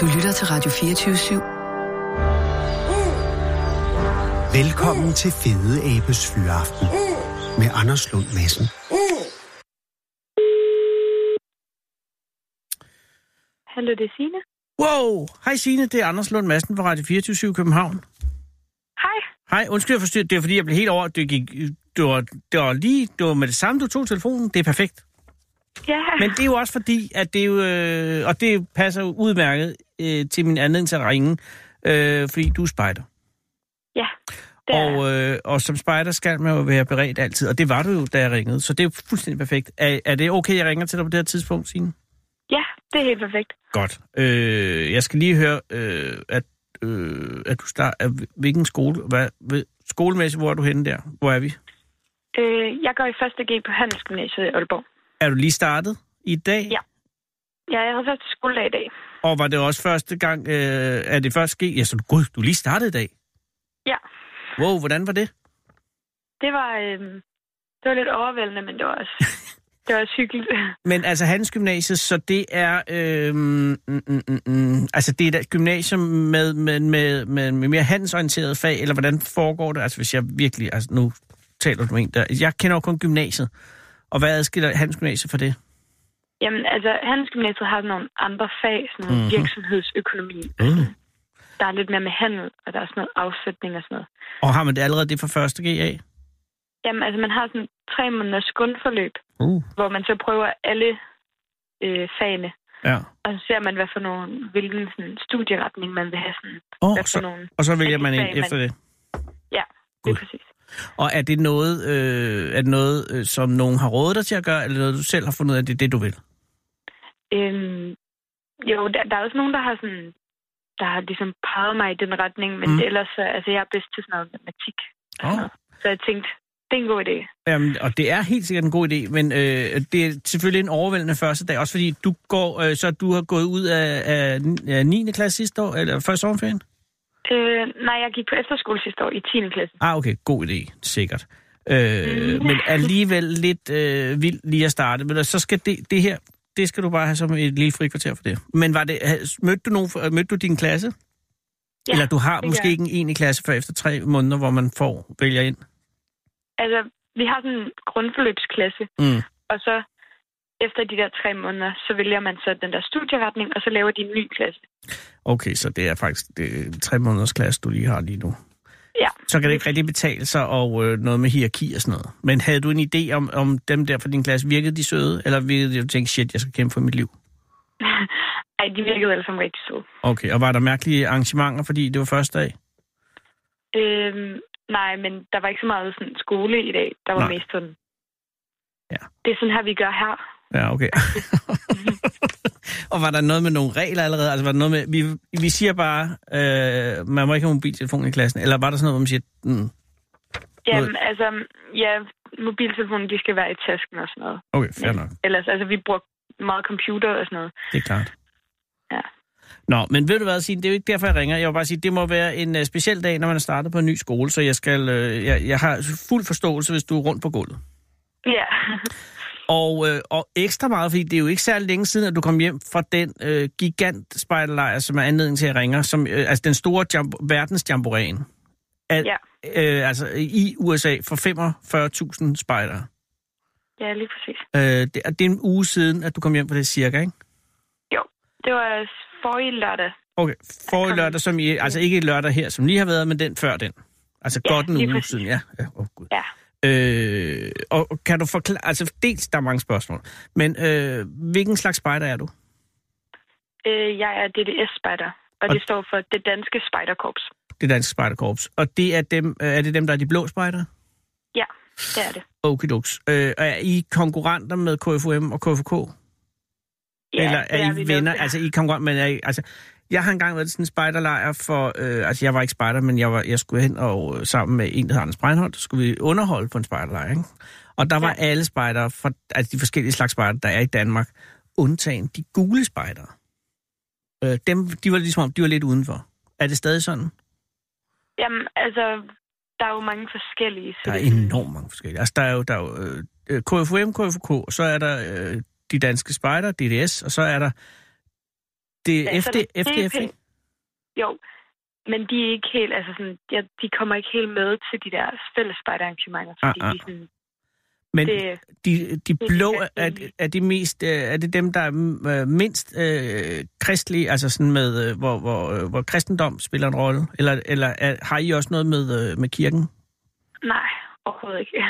Du lytter til Radio 24-7. Velkommen til Fede Abes Fyraften med Anders Lund Madsen. Hallo, det er Signe. Wow! Hej Signe, det er Anders Lund Madsen fra Radio 24 København. Hej. Hej, undskyld, jeg forstyrrer. Det er fordi, jeg blev helt over. Det, gik, det, var, det var lige det var med det samme, du tog telefonen. Det er perfekt. Ja, Men det er jo også fordi, at det jo, øh, og det passer jo udmærket øh, til min anledning til at ringe, øh, fordi du er spejder. ja. Det er, Og, øh, og som spejder skal man jo være beredt altid, og det var du jo, da jeg ringede, så det er jo fuldstændig perfekt. Er, er det okay, jeg ringer til dig på det her tidspunkt, Signe? ja, det er helt perfekt. Godt. Øh, jeg skal lige høre, øh, at, øh, at du start, at hvilken skole, hvad, ved, skolemæssigt, hvor er du henne der? Hvor er vi? Øh, jeg går i 1. G på Handelsgymnasiet i Aalborg. Er du lige startet i dag? Ja. Ja, jeg havde første skoledag i dag. Og var det også første gang, øh, er det første sket? Ja, så du- gud, du er lige startede i dag. Ja, Wow, hvordan var det? det var, øh, det var lidt overvældende, men det var også, det var også hyggeligt. Men altså Hans Gymnasiet, så det er øh, mm, mm, mm, mm, altså det er et gymnasium med, med, med, med, med mere handelsorienterede fag, eller hvordan foregår det? Altså hvis jeg virkelig, altså nu taler du med en der, jeg kender jo kun gymnasiet, og hvad adskiller Hans Gymnasiet fra det? Jamen, altså, Handelsgymnasiet har sådan nogle andre fag, sådan noget Mhm. virksomhedsøkonomi. Mm. Der er lidt mere med handel, og der er sådan noget afsætning og sådan noget. Og har man det allerede det fra første G af? Jamen, altså, man har sådan tre måneders grundforløb, Uh. hvor man så prøver alle øh, fagene. Ja. Og så ser man, hvad for nogle, hvilken sådan, studieretning man vil have. Sådan, Oh, hvad for så, nogle... og så vælger af de man fag, en man- efter det. Det Gud. er præcis. Og er det noget, øh, er det noget øh, som nogen har rådet dig til at gøre, eller noget, du selv har fundet ud af, at det er det, du vil? Øhm, jo, der, der er også nogen, der har sådan der har ligesom peget mig i den retning, men Mm. mm. ellers, så- altså jeg er bedst til sådan noget matematik. og sådan Åh. noget. Så jeg tænkte, det er en god idé. Jamen, og det er helt sikkert en god idé, men øh, det er selvfølgelig en overvældende første dag, også fordi du går, øh, så du har gået ud af, af, af 9. klasse sidste år, eller før sommerferien? Øh, nej, jeg gik på efterskole sidste år i 10. klasse. Ah, okay, god idé, sikkert. Øh, Mm. men alligevel lidt øh, vildt lige at starte, men så skal det, det her, det skal du bare have som et lille frikvarter for det. Men var det, ha- mødte du, nogen, fra- mødte du din klasse? Ja, eller du har det måske gør jeg. ikke en egentlig klasse før efter tre måneder, hvor man får vælger ind? Altså, vi har sådan en grundforløbsklasse, Mm. og så efter de der tre måneder, så vælger man så den der studieretning, og så laver de en ny klasse. Okay, så det er faktisk det, er tre måneders klasse, du lige har lige nu. Ja. Så kan det ikke rigtig betale sig og øh, noget med hierarki og sådan noget. Men havde du en idé om, om dem der fra din klasse, virkede de søde, eller virkede de, du tænkte, shit, jeg skal kæmpe for mit liv? Ej, de virkede alle sammen rigtig søde. Okay, og var der mærkelige arrangementer, fordi det var første dag? Øhm, nej, men der var ikke så meget sådan, skole i dag. Der var Nej. nej. mest sådan... Ja. Det er sådan her, vi gør her. Ja, okay. og var der noget med nogle regler allerede? Altså var der noget med, vi, vi siger bare, øh, man må ikke have mobiltelefon i klassen, eller var der sådan noget, hvor man siger, mm, Jamen, altså, ja, mobiltelefonen, de skal være i tasken og sådan noget. okay, fair Men nok. Ellers, altså, vi bruger meget computer og sådan noget. Det er klart. Ja. Nå, men ved du hvad, Signe, det er jo ikke derfor, jeg ringer. Jeg vil bare sige, det må være en uh, speciel dag, når man er startet på en ny skole, så jeg, skal, uh, jeg, jeg har fuld forståelse, hvis du er rundt på gulvet. Ja, Og, uh, og ekstra meget, fordi det er jo ikke særlig længe siden, at du kom hjem fra den uh, gigant spejderlejr, som er anledning til, at jeg ringer, som, uh, altså den store jam- verdens jamboræen. Al, Ja. uh, altså i USA for 45.000 spejdere. ja lige præcis. Uh, det, og det er en uge siden, at du kom hjem fra det cirka, ikke? Det var forrige lørdag. Okay, forrige kom- lørdag, som I, altså ikke lørdag her, som lige har været, men den før den. Altså Ja, godt en lige uge præcis. siden, ja. ja oh, Gud. Ja. Øh, og og kan du forklare, altså dels, der er mange spørgsmål, men øh, hvilken slags spejder er du? Øh, jeg er DDS-spejder, og Og- det står for Det Danske Spejderkorps. Det danske spejderkorps. Og det er, dem, øh, er det dem, der er de blå spejdere? Ja, det er det. Okidoks. Øh, og er I konkurrenter med KFUM og KFK? Ja, Eller det er I vi venner? nok. Altså, I kom godt, men er I, altså, jeg har engang været til sådan en spejderlejr for... Øh, altså, jeg var ikke spejder, men jeg, var, jeg skulle hen og øh, sammen med en, der hedder Anders Breinholt, skulle vi underholde på en spejderlejr, ikke? Og der var alle spejdere fra altså, de forskellige slags spejder, der er i Danmark, undtagen de gule spejdere. Øh, dem, de var ligesom om, de var lidt udenfor. Er det stadig sådan? Jamen, altså, der er jo mange forskellige. Så Der er det sådan- enormt mange forskellige. Altså, der er jo, der er jo øh, øh, KFUM, KFUK, og så er der øh, de danske spejder, DDS, og så er der Det er Altså, FD, det er FDF, ikke? pænt. Jo, men de er ikke helt, altså sådan, ja, de kommer ikke helt med til de der fælles spejderarrangementer, fordi Ah, ah, ah. ah. de sådan, Men det, de, de er blå, de er, rigtige. er, de mest, øh, er det dem, der er mm, øh, mindst øh, kristelige, altså sådan med, øh, hvor, hvor, øh, hvor kristendom spiller en rolle? Eller, eller er, har I også noget med, øh, med kirken? nej, overhovedet ikke.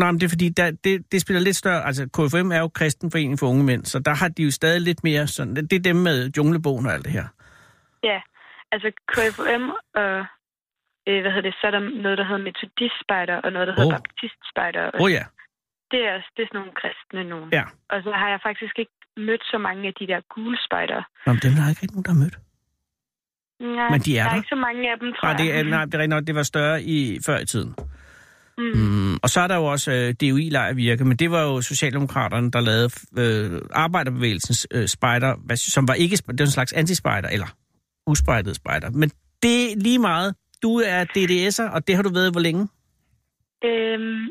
Nej, men det er fordi, der, det, det spiller lidt større... Altså, KFM er jo kristen forening for unge mænd, så der har de jo stadig lidt mere sådan... Det er dem med junglebogen og alt det her. Ja, altså KFM og, øh, hvad hedder det, så er der noget, der hedder metodistspejder, og noget, der hedder oh. Åh. baptistspejder. Åh oh, ja. Det er også det er sådan nogle kristne nogen. Ja. Og så har jeg faktisk ikke mødt så mange af de der gule spejder. Nå, men dem er der ikke rigtig nogen, der har mødt. Nej, Men de er der der. er ikke så mange af dem, tror Nej, det, er, jeg. nej, det er rigtig nok, det var større i, før i tiden. Mm. Mm. Og så er der jo også øh, DUI-lejr virke, men det var jo Socialdemokraterne, der lavede øh, arbejderbevægelsens øh, spejder, hvad- som var ikke... sp- Det var en slags antispejder, eller uspejdet spejder. Men det er lige meget. Du er DDS'er, og det har du været hvor længe? Øhm,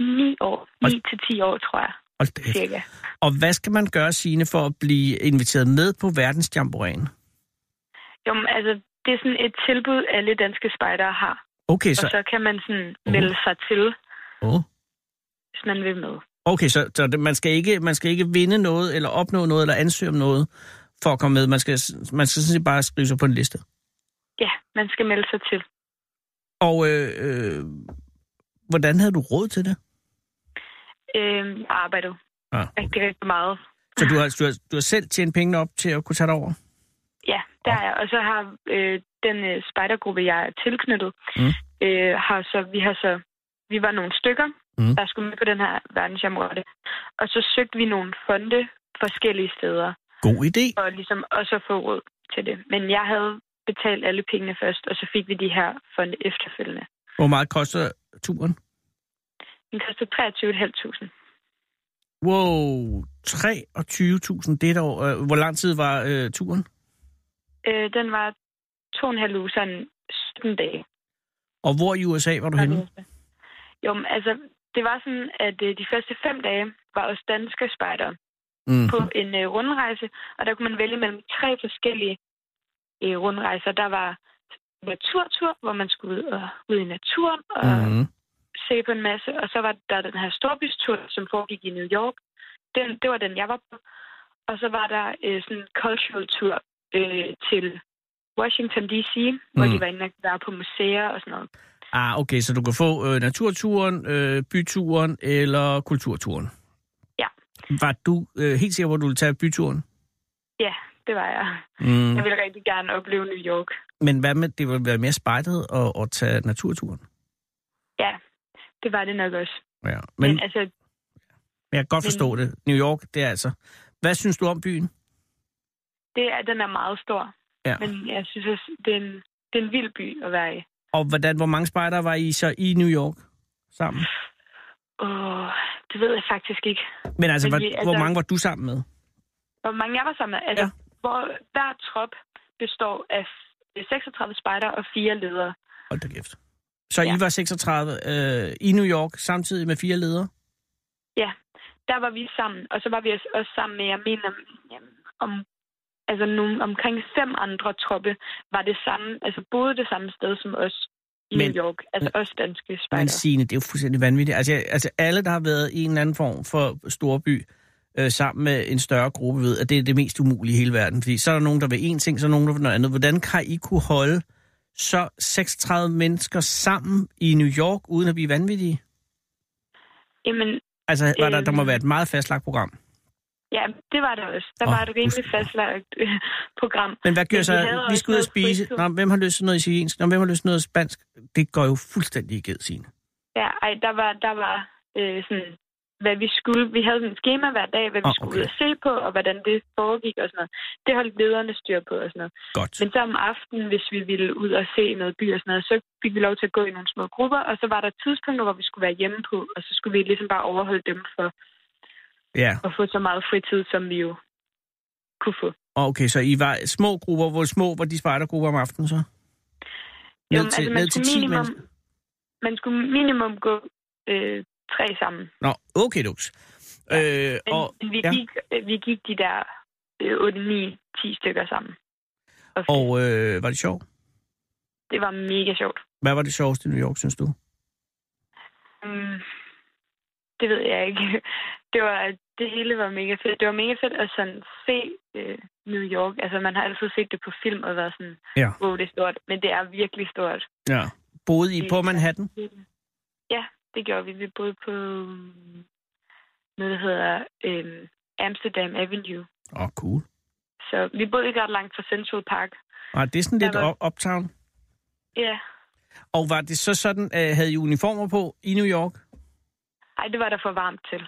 9 år. Og- 9 til 10 år, tror jeg, Hold da kæft. cirka. Og hvad skal man gøre, sine for at blive inviteret med på verdensjamboræen? Jo, men, altså, det er sådan et tilbud, alle danske spejdere har. Okay, Så... Mhm. Og så, så kan man sådan Uh. melde sig til, Åh. hvis man vil med. okay, så, så det- man, skal ikke, man skal ikke vinde noget, eller opnå noget, eller ansøge om noget for at komme med. Man skal, man skal sådan set bare skrive sig på en liste. Ja, man skal melde sig til. Og øh, øh, hvordan havde du råd til det? Øhm, jeg arbejdede Ah, rigtig, rigtig meget. Så du har, du, har, du har selv tjent pengene op til at kunne tage dig over? Ja, der er jeg. Og så har øh, den øh, spejdergruppe, jeg er tilknyttet, Mm. mm. øh, har så, vi har så, vi var nogle stykker, Mm. mm. der skulle med på den her verdensjamrotte. Og så søgte vi nogle fonde forskellige steder, God idé. for ligesom også at få råd til det. Men jeg havde betalt alle pengene først, og så fik vi de her fonde efterfølgende. Hvor meget koster turen? Den kostede 23.500. Wow, 23.000 det år. Øh, Hvor lang tid var øh, turen? Øh, den var to og en halv uge, sådan 17 dage. Og hvor i USA var du Har henne? du det? Jo, men altså, det var sådan, at øh, de første fem dage var også danske spejdere Mm. på en øh, rundrejse, og der kunne man vælge mellem tre forskellige øh, rundrejser. Der var naturtur, hvor man skulle ud, og, ud i naturen og mm. Mm. se på en masse, og så var der den her storbystur, som foregik i New York. Den, det var den, jeg var på. Og så var der øh, sådan en cultural tur øh, til Washington D.C., hvor Mm. de var inde og være på museer og sådan noget. Ah, okay, så du kan få øh, naturturen, øh, byturen eller kulturturen. Ja. Var du øh, helt sikker på, at du ville tage byturen? Ja, det var jeg. Mm. Jeg ville rigtig gerne opleve New York. Men hvad med, det ville være mere spejtet at, at tage naturturen? Det var det nok også. Ja. Men, Men, men altså, men jeg kan godt men- forstå det. New York, det er altså... Hvad synes du om byen? det er, den er meget stor. Ja. Men jeg synes også, det er en, det er en vild by at være i. Og hvordan, hvor mange spejdere var I så i New York sammen? Åh, det ved jeg faktisk ikke. Men altså, Men hvor, vi- altså- hvor mange var du sammen med? Hvor mange jeg var sammen med. Altså, Ja. ja. hvor hver trop består af f- 36 spejder og fire ledere. Hold da kæft. Så Ja. I var 36 øh, i New York samtidig med fire ledere? Der var vi sammen, og så var vi også- også sammen med, jeg mener, jamen, om, altså nogle, omkring fem andre troppe var det samme, altså boede det samme sted som os i Men- New York. Altså os danske Men spejder. Signe, det er jo fuldstændig vanvittigt. Altså, jeg- altså alle, der har været i en eller anden form for storby øh, sammen med en større gruppe, ved, at det er det mest umulige i hele verden. Fordi så er der nogen, der vil en ting, så er der nogen, der vil noget andet. Hvordan kan I kunne holde så 36 mennesker sammen i New York, uden at blive vanvittige? Jamen, Altså, var der, der må Øhm. være et meget fastlagt program. Ja, det var der også. Der Åh, oh, var et rimelig gud. fastlagt øh, program. Men hvad gør Men vi så? havde Vi også skal ud og noget spise. fritur. Nå, hvem har lyst til noget italiensk? Nå, hvem har lyst til noget spansk? Det går jo fuldstændig i ged, Signe. Ja, ej, der var, der var øh, sådan, hvad vi skulle. Vi havde sådan et schema hver dag, hvad vi Åh, oh, skulle ud okay. og se på, og hvordan det foregik og sådan noget. Det holdt lederne styr på og sådan noget. Godt. Men så om aftenen, hvis vi ville ud og se noget by og sådan noget, så fik vi lov til at gå i nogle små grupper, og så var der tidspunkter, hvor vi skulle være hjemme på, og så skulle vi ligesom bare overholde dem for Ja, at få så meget fritid, som vi jo kunne få. og okay, så I var små grupper. Hvor små var de spejdergrupper om aftenen så? Ned Jamen, til, altså, man ned til skulle 10 minimum- mennesker? Man skulle minimum gå øh, tre sammen. Nå, okay, Lux. Øh, Men og, og, vi, ja. ja. gik, øh, vi gik de der øh, 8, 9, 10 stykker sammen. Og øh, var det sjovt? Det var mega sjovt. Hvad var det sjoveste i New York, synes du? Mm, det ved jeg ikke. Det var det hele var mega fedt. Det var mega fedt at sådan se øh, New York. Altså man har altid set det på film og været sådan, Ja. wow, det er stort, men det er virkelig stort. Ja. Boede I Det- på Manhattan? Ja, det gjorde vi. Vi boede på mm, noget, der hedder øh, Amsterdam Avenue. Åh, oh, cool. Så vi boede ikke ret langt fra Central Park. Og Ah, det er sådan lidt Der var- up- uptown. Ja, Og var det så sådan, øh, havde I uniformer på i New York? ej, det var der for varmt til.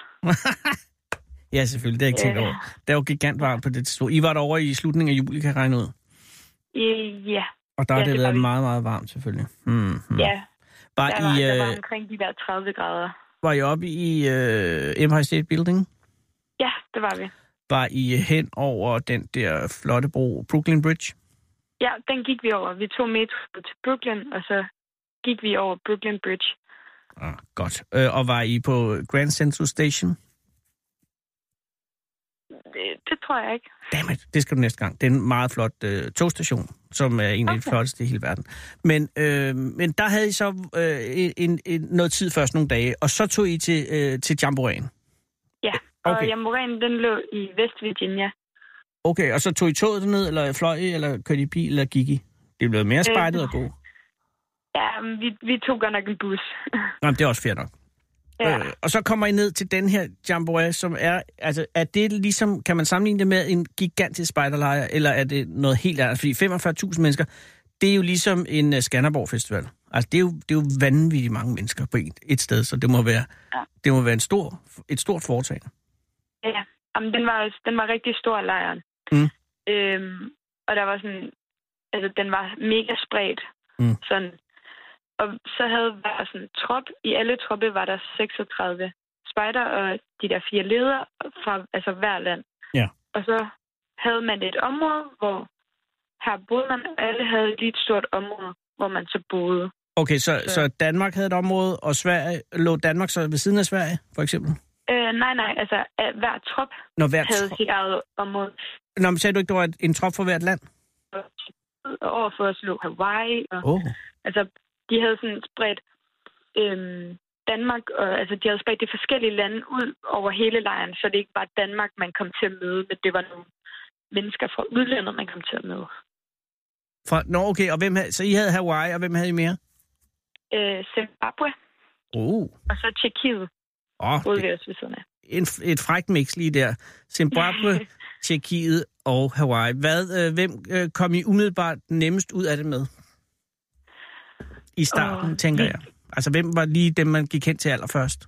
Ja, selvfølgelig. Det har jeg ikke tænkt Ja. over. Der var gigant varmt på det tidspunkt. I var derovre i slutningen af juli, kan jeg regne ud. Øh, Ja, Og der har Ja, det det var været vi. meget, meget varmt, selvfølgelig. Mm-hmm. ja. Var, Der I, var, der var øh, omkring de der 30 grader. var I oppe i øh, Empire State Building? Ja, det var vi. Var I øh, hen over den der flotte bro, Brooklyn Bridge? Ja, den gik vi over. Vi tog metro til Brooklyn, og så gik vi over Brooklyn Bridge. Ah, godt. Øh, og var I på Grand Central Station? Det, det tror jeg ikke. Dammit, det skal du næste gang. Det er en meget flot øh, togstation, som er en af de Okay. flotteste i hele verden. Men, øh, men der havde I så øh, en, en, noget tid først, nogle dage, og så tog I til, øh, til Jamboreen. Ja, Okay. og Jamoran, den lå i West Virginia. Okay, og så tog I toget ned, eller fløj I, eller kørte I bil, eller gik I? Det blev Øh, mere spejdet og god. Ja, men vi, vi tog godt nok en bus. Nå, men det er også fair nok. ja. Øh, og så kommer I ned til den her jamboree, som er, altså er det ligesom, kan man sammenligne det med en gigantisk spejderlejr, eller er det noget helt andet? Fordi 45.000 mennesker, det er jo ligesom en uh, Skanderborg Festival. Altså det er, jo, det er jo vanvittigt mange mennesker på et, et sted, så det må være, Ja. det må være en stor, et stort foretagende. ja. Jamen, den var, den var rigtig stor, lejren. Mm. Øhm, og der var sådan... Altså, den var mega spredt. Mm. Sådan. Og så havde var sådan en trop. I alle troppe var der 36 spejder og de der fire ledere fra altså, hver land. Ja. Og så havde man et område, hvor her boede man, og alle havde lige et stort område, hvor man så boede. Okay, så, Ja. så Danmark havde et område, og Sverige, lå Danmark så ved siden af Sverige, for eksempel? Øh, nej, nej, altså at hver trop Når hver havde tro- sit eget område. Nå, men sagde du ikke, der var et- en trop for hvert land? Og overfor os lå Hawaii, og Åh, oh. altså, de havde sådan spredt øhm, Danmark, og, altså de havde spredt de forskellige lande ud over hele lejren, så det ikke var Danmark, man kom til at møde, men det var nogle mennesker fra udlandet, man kom til at møde. Fra, nå, okay, og hvem havde, så I havde Hawaii, og hvem havde I mere? Øh, Zimbabwe, Oh. og så Tjekkiet, Åh, oh, boede vi også ved siden af. en, et frækt mix lige der. Zimbabwe, Tjekkiet og Hawaii. Hvad, øh, hvem øh, kom I umiddelbart nemmest ud af det med? I starten, Åh, oh, tænker vi- jeg. Altså, hvem var lige dem, man gik hen til allerførst?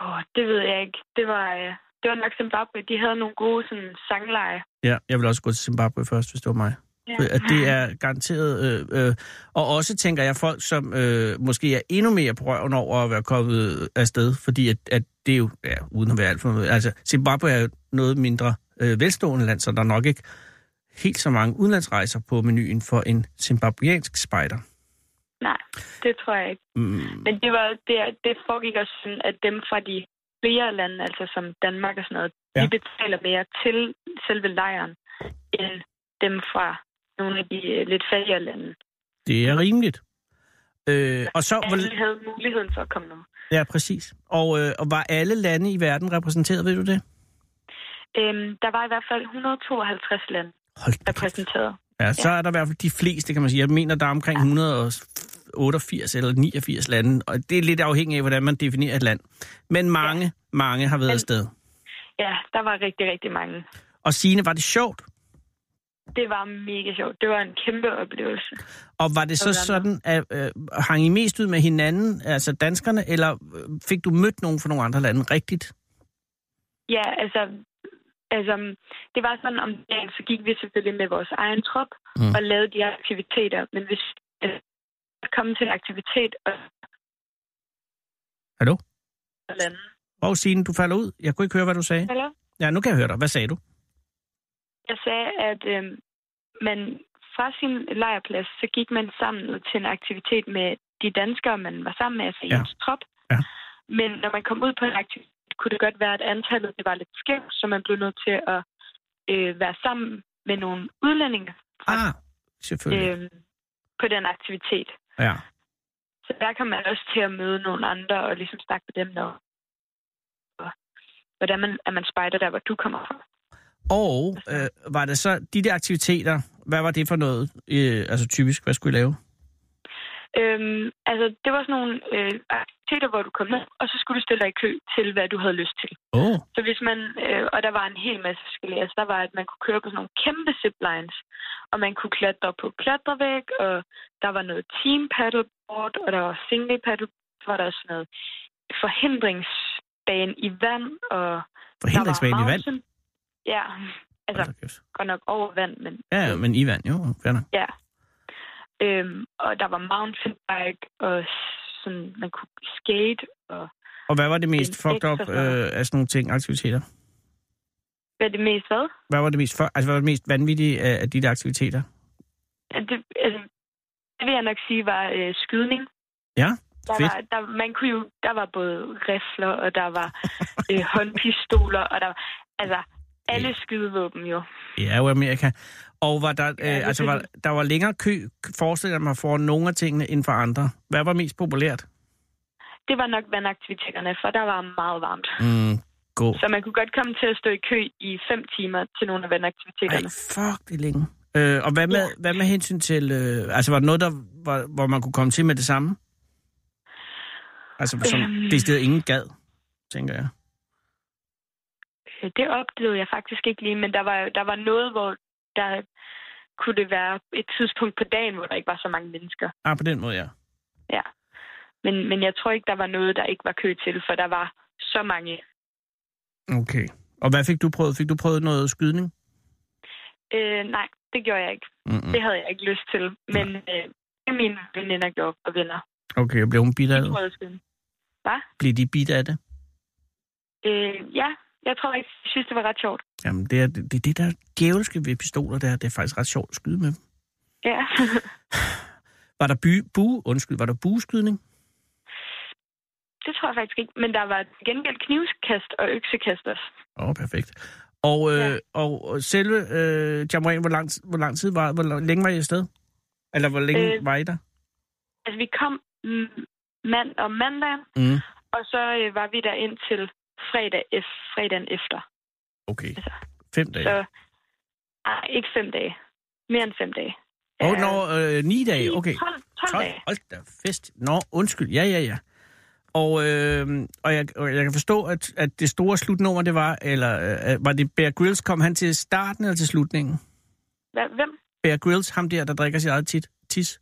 Åh, det ved jeg ikke. Det var, øh, det var nok Zimbabwe. De havde nogle gode sådan, sangleje. Ja, jeg vil også gå til Zimbabwe først, hvis det var mig. Øh, At det er garanteret... Øh, øh, og også tænker jeg folk, som øh, måske er endnu mere på røven over at være kommet afsted, fordi at, at det er jo, ja, uden at være alt for... Altså, Zimbabwe er jo et noget mindre øh, velstående land, så der er nok ikke helt så mange udenlandsrejser på menuen for en zimbabwiansk spejder. Nej, det tror jeg ikke. Mm, Men det, var, det, det foregik også sådan, at dem fra de flere lande, altså som Danmark og sådan noget, ja. Ja. de betaler mere til selve lejren, end dem fra nogle af de øh, lidt fattigere lande. det er rimeligt. Øh, og så... Hvor, Alle havde muligheden for at komme med. ja, præcis. Og, øh, og var alle lande i verden repræsenteret, ved du det? Øhm, der var i hvert fald 152 lande Hold da kæft. repræsenteret. Ja, så er der i hvert fald de fleste, kan man sige. Jeg mener, der er omkring 188 eller 89 lande, og det er lidt afhængigt af, hvordan man definerer et land. Men mange, ja. mange har været Men- afsted. Ja, der var rigtig, rigtig mange. Og Signe, var det sjovt? Det var mega sjovt. Det var en kæmpe oplevelse. Og var det så Sådan der. sådan, at øh, hang I mest ud med hinanden, altså danskerne, eller øh, fik du mødt nogen fra nogle andre lande rigtigt? Ja, altså, altså, det var sådan om dagen, så gik vi selvfølgelig med vores egen trop Mm. mm. og lavede de her aktiviteter. Men hvis øh, at komme til en aktivitet og Hallo? og lande. Og Signe, du falder ud. Jeg kunne ikke høre, hvad du sagde. Hallo? Ja, nu kan jeg høre dig. Hvad sagde du? Jeg sagde, at øh, man fra sin lejrplads, så gik man sammen ud til en aktivitet med de danskere, man var sammen med, altså i Ja. ens trop. Ja. Men når man kom ud på en aktivitet, kunne det godt være, at antallet det var lidt skævt, så man blev nødt til at øh, være sammen med nogle udlændinge Ah, selvfølgelig. øh, på den aktivitet. Ja. Så der kan man også til at møde nogle andre og ligesom snakke med dem om, hvordan man, at man spejder der, hvor du kommer fra. Og øh, var det så de der aktiviteter, hvad var det for noget? Øh, altså typisk, hvad skulle I lave? Øhm, altså, det var sådan nogle øh, aktiviteter, hvor du kom ned, og så skulle du stille dig i kø til, hvad du havde lyst til. Åh, oh, Så hvis man, øh, og der var en hel masse forskellige, altså der var, at man kunne køre på sådan nogle kæmpe ziplines, og man kunne klatre på klatrevæg, og der var noget team paddleboard, og der var single paddleboard, så var der sådan noget forhindringsbane i vand, og forhindringsvand i vand. mountain- Ja, altså Hold da kæft. godt nok over vand, men Ja, ja, men i vand, jo. Fair nok. øhm, og der var mountainbike, og s- sådan, man kunne skate, og Og hvad var det mest En fucked up ekstra sådan. øh, af sådan nogle ting, aktiviteter? hvad er det mest hvad? Hvad var det mest, for, altså, hvad var det mest vanvittige af, af de der aktiviteter? Ja, Det, altså, det vil jeg nok sige var øh, skydning. Ja, der fedt. var, der, man kunne jo, der var både rifler, og der var øh, håndpistoler, og der var, altså, alle skydevåben jo. Ja, jo Amerika. Og var der, øh, det altså, var, der var længere kø, forestiller jeg mig, for nogle af tingene end for andre. Hvad var mest populært? Det var nok vandaktiviteterne, for der var meget varmt. Mm, god. Så man kunne godt komme til at stå i kø i fem timer til nogle af Ej, vandaktiviteterne. fuck, det er længe. Øh, og hvad med, ja. hvad med hensyn til... Øh, altså, var det noget, der, var, hvor man kunne komme til med det samme? Altså, som Øhm. det sted ingen gad, tænker jeg. Øh, Det oplevede jeg faktisk ikke lige, men der var, der var noget, hvor der kunne det være et tidspunkt på dagen, hvor der ikke var så mange mennesker. Ah, på den måde, ja. Men, men jeg tror ikke, der var noget, der ikke var kø til, for der var så mange. Okay. Og hvad fik du prøvet? Fik du prøvet noget skydning? Øh, nej, det gjorde jeg ikke. Mm-mm. Det havde jeg ikke lyst til. Men øh, det mine veninder gjorde og venner. Okay, og blev hun bidt af De det? prøvede at skyde. Blev de bidt af det? Øh, ja, jeg tror ikke, jeg synes, det var ret sjovt. Jamen, det er det, det, er det der djævelske ved pistoler, der. Det er faktisk ret sjovt at skyde med dem. Ja. Var der by, bu, undskyld, var der bueskydning? det tror jeg faktisk ikke. Men der var til gengæld knivkast og øksekast også. Åh, oh, perfekt. Og, øh, ja. Ja. og og selve øh, Jamboree, hvor lang, hvor lang tid var, hvor lang- længe var I afsted? Eller hvor længe øh. Øh. var I der? Altså, vi kom mm, mand om mandag, Mm. og så øh, var vi der indtil fredag, ef- fredagen efter. Okay. Altså, Fem dage. Så, Åh, nej, ikke fem dage. Mere end fem dage. oh, nå, øh, ni dage, okay. 12, 12 Tolv. dage. Hold da fest. Nå, undskyld. Ja, ja, ja. Og, øh, og, jeg, og jeg kan forstå, at, at det store slutnummer, det var, eller øh, var det Bear Grylls, kom han til starten eller til slutningen? Hva- Hvem? Bear Grylls, ham der, der drikker sit eget tit, tis.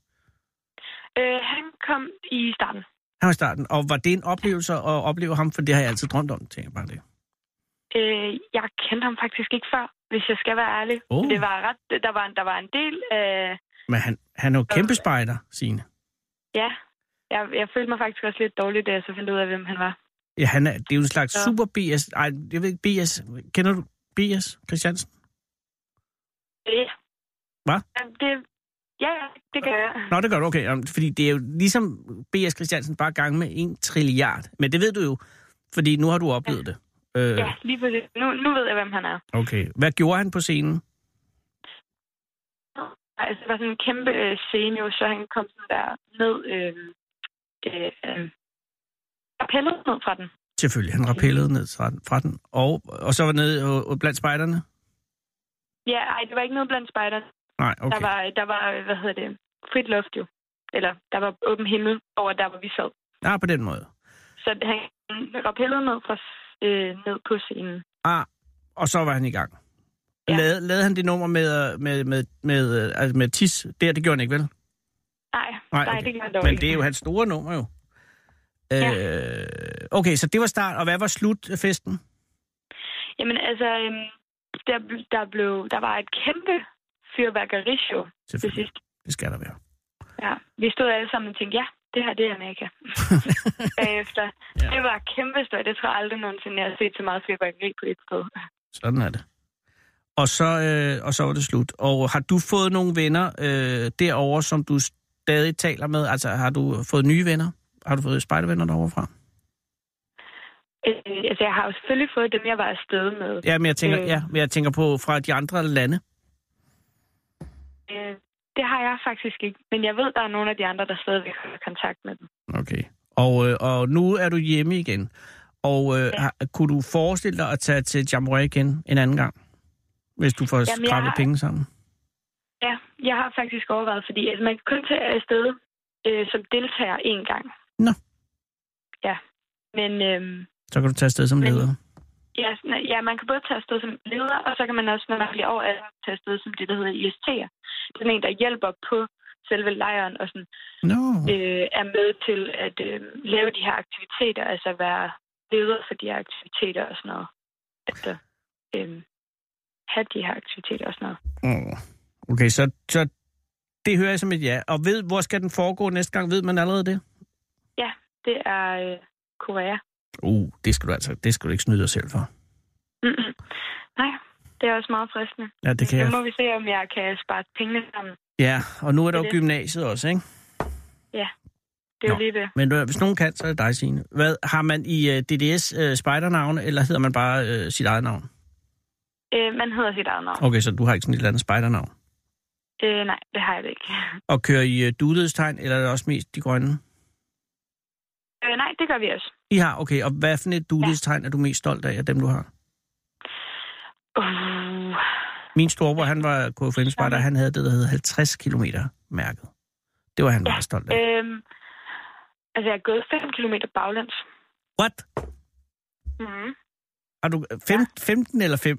Øh, han kom i starten. Han var i starten. Og var det en oplevelse at opleve ham? For det har jeg altid drømt om, tænker jeg bare det. Øh, jeg kendte ham faktisk ikke før, hvis jeg skal være ærlig. Oh. Oh. Det var ret, der, var, en- der var en del. Øh, Men han, han er jo kæmpe spejder, Signe. ja, jeg, jeg følte mig faktisk også lidt dårlig, da jeg så fandt ud af, hvem han var. Ja, han er, det er jo en slags Ja. super BS. Ej, jeg ved ikke, BS. Kender du BS, Christiansen? Øh, Hva? Ja, det, ja, ja, det gør jeg. Nå, det gør du, okay. Jamen, Fordi det er jo ligesom B.S. Christiansen bare gange med en trilliard. Men det ved du jo, fordi nu har du oplevet det. Øh, Ja, lige på det. Nu, nu ved jeg, hvem han er. okay. Hvad gjorde han på scenen? Altså, det var sådan en kæmpe øh, scene, jo, så han kom sådan der ned. Øh, øh, øh, og pillede ned fra den. Selvfølgelig, han rappellede ned fra den- fra den. Og, og så var nede øh, blandt spejderne? Ja, ej, det var ikke noget blandt spejderne. Nej, okay. Okay. Der, var, der var, hvad hedder det, frit luft jo. Eller der var åben himmel over der, hvor vi sad. Ah, på den måde. Så han rappellede ned, fra, øh, ned på scenen. Ah, og så var han i gang. Ja. Ja. Lade, lavede han det nummer med, øh, med, med, med, øh, altså med tis? Der, det gjorde han ikke, vel? Nej, Nej, nej, okay. nej det gjorde han dog Men ikke. det er jo hans store nummer, jo. Øh, okay, så det var start. Og hvad var slutfesten? Jamen altså, øhm, der, bl- der, blev, der var et kæmpe fyrværkerishow til Selvfølgelig. sidst. Det skal der være. Ja. Vi stod alle sammen og tænkte, ja, det her det er Amerika. Bagefter. Ja. Ja. Det var kæmpe stort. Det tror jeg aldrig nogensinde, jeg har set så meget fyrværkeri på et sted. Sådan er det. Og så, øh, og så var det slut. Og har du fået nogle venner øh, derovre, som du stadig taler med? Altså, har du fået nye venner? Har du fået spejdervenner derovre fra? Øh, altså, jeg har jo selvfølgelig fået dem, jeg var afsted med. Ja, men jeg tænker, Øh. ja, men jeg tænker på fra de andre lande. Øh, det har jeg faktisk ikke. Men jeg ved, der er nogle af de andre, der stadigvæk har kontakt med dem. Okay. Og, øh, og nu er du hjemme igen. Og øh, Ja. har, kunne du forestille dig at tage til Jamboree igen en anden gang? Hvis du får jeg skrabet har- penge sammen? Ja, jeg har faktisk overvejet, fordi altså, man kan kun tage afsted øh, som deltager én gang. Nå. Ja, men øh, Så kan du tage afsted som Men- leder. ja, sådan- ja, man kan både tage afsted som leder, og så kan man også, når man bliver over, alder, tage afsted som det, der hedder IST'er. Det er en, der hjælper på selve lejren og sådan, Nå. øh, er med til at øh, lave de her aktiviteter, altså være leder for de her aktiviteter og sådan noget. Altså, øh, have de her aktiviteter og sådan noget. Åh. Okay, så, så det hører jeg som et ja. Og ved, hvor skal den foregå næste gang? Ved man allerede det? Det er øh, Korea. Uh, det skal du altså det skal du ikke snyde dig selv for. Mm-mm. Nej, det er også meget fristende. Ja, det kan Nu jeg. må vi se, om jeg kan spare pengene sammen. Ja, og nu er der Det jo er det. gymnasiet også, ikke? Det er jo Nå. lige det. Men øh, hvis nogen kan, så er det dig, Signe. Hvad, har man i øh, DDS øh, spejdernavn, eller hedder man bare øh, sit eget navn? Øh, man hedder sit eget navn. Okay, så du har ikke sådan et eller andet spejdernavn. Øh, nej, det har jeg det ikke. Og kører I øh, dudestegn, eller er det også mest de grønne? Øh, nej, det gør vi også. I har, okay. Og hvad for et dudestegn er du mest stolt af, af dem du har? Uh, Min storebror, han var kfm spejder han havde det, der hed 50 km mærket. Det var han meget stolt af. øh, altså, jeg er gået 5 km baglæns. What? Mm. Har du øh, fem, 15 eller 5?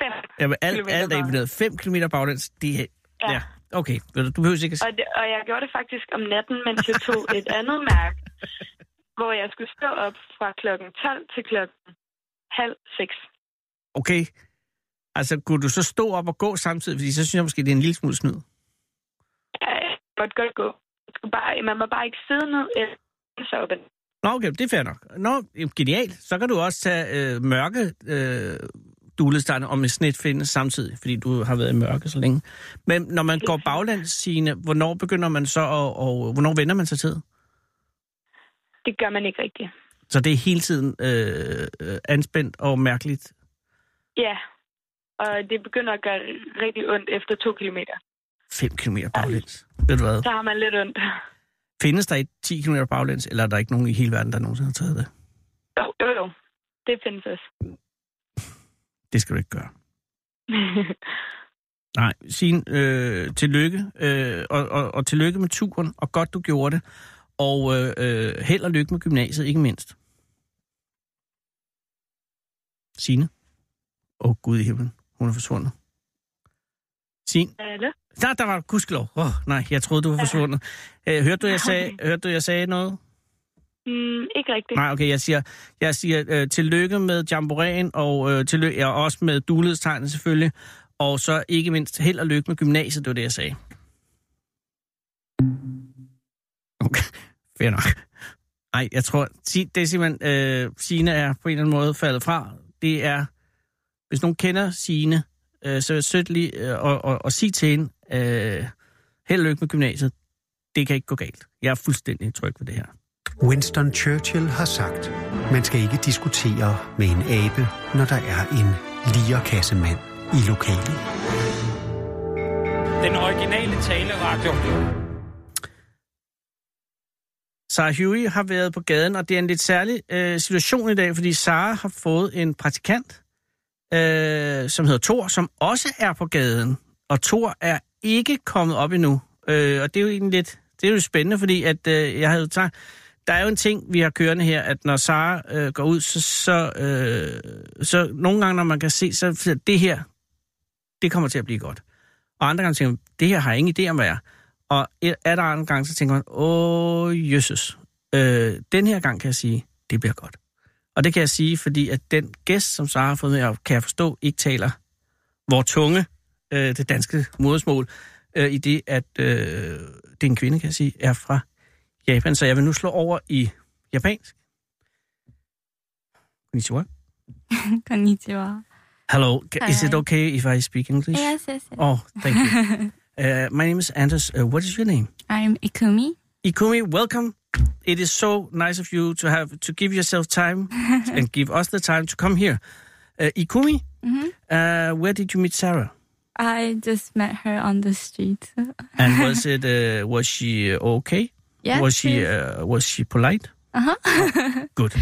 5. Ja, men alt, Kilometer alt er bare. imponeret. 5 km baglæns, det er... Ja. Ja. ja. Okay, Ved du, du behøver ikke at Og, det, og jeg gjorde det faktisk om natten, mens jeg tog et andet mærke, hvor jeg skulle stå op fra klokken 12 til klokken halv 6. okay, altså kunne du så stå op og gå samtidig? Fordi så synes jeg måske, det er en lille smule snyd. Ja, jeg kan godt godt gå. Jeg skulle bare, man må bare ikke sidde ned eller så op. ad- Nå, okay, det er fair nok. Nå, jamen, genialt. Så kan du også tage øh, mørke øh, dulestegn og med snitfinde samtidig, fordi du har været i mørke så længe. Men når man går baglands, Signe, hvornår begynder man så, og, og hvornår vender man sig til? Det gør man ikke rigtigt. Så det er hele tiden øh, øh, anspændt og mærkeligt. Ja, og det begynder at gøre rigtig ondt efter to kilometer. 5 km baglæns. Ved du hvad? Så har man lidt ondt. Findes der et 10 km baglæns, eller er der ikke nogen i hele verden, der nogensinde har taget det? Jo, jo, jo. Det findes også. Det skal du ikke gøre. Nej, sin øh, tillykke, øh, og, og, og tillykke med turen, og godt du gjorde det. Og øh, øh, held og lykke med gymnasiet, ikke mindst. Sine. Åh, oh, Gud i himlen. Hun er forsvundet. Sin. Hallo? Der, der var du, gudskelov. Åh, oh, nej, jeg troede, du var forsvundet. Øh, hørte, du, jeg sagde, hørte du, jeg sagde noget? Mm, ikke rigtigt. Nej, okay, jeg siger, jeg siger øh, tillykke med jamboreen, og øh, tillykke, ja, også med dulighedstegnet selvfølgelig, og så ikke mindst held og lykke med gymnasiet, det var det, jeg sagde. Okay, fair nok. Ej, jeg tror, Si- det er simpelthen, øh, Signe er på en eller anden måde faldet fra. Det er, hvis nogen kender Signe, øh, så er det sødt lige øh, og, og, og sige til hende, øh, held og lykke med gymnasiet. Det kan ikke gå galt. Jeg er fuldstændig tryg ved det her. Winston Churchill har sagt, man skal ikke diskutere med en abe, når der er en lierkassemand i lokalet. Den originale taleradio. Sarah Huey har været på gaden, og det er en lidt særlig øh, situation i dag, fordi Sarah har fået en praktikant, øh, som hedder Thor, som også er på gaden. Og Thor er ikke kommet op endnu. Øh, og det er jo egentlig lidt det er jo spændende, fordi at, øh, jeg havde tænkt, der er jo en ting, vi har kørende her, at når Sara øh, går ud, så, så, øh, så nogle gange, når man kan se, så så det her, det kommer til at blive godt. Og andre gange tænker man, det her har jeg ingen idé om, hvad er. Og er er der andre gange, så tænker man, åh, jøsses, øh, den her gang kan jeg sige, det bliver godt. Og det kan jeg sige, fordi at den gæst, som Sara har fået med, op, kan jeg forstå, ikke taler vor tunge, øh, det danske modersmål, øh, i det, at øh, det er en kvinde, kan jeg sige, er fra Japan. Så jeg vil nu slå over i japansk. Konnichiwa. Konnichiwa. Hello, ca- is Hi. it okay if I speak English? Yes, yes, yes. Oh, thank you. uh, my name is Anders. Uh, what is your name? I'm Ikumi. Ikumi, welcome It is so nice of you to have to give yourself time and give us the time to come here. Uh, Ikumi, Mhm. uh, where did you meet Sarah? I just met her on the street. And was it uh, was she uh, okay? Yeah, was she she's- uh, was she polite? Uh-huh. Good.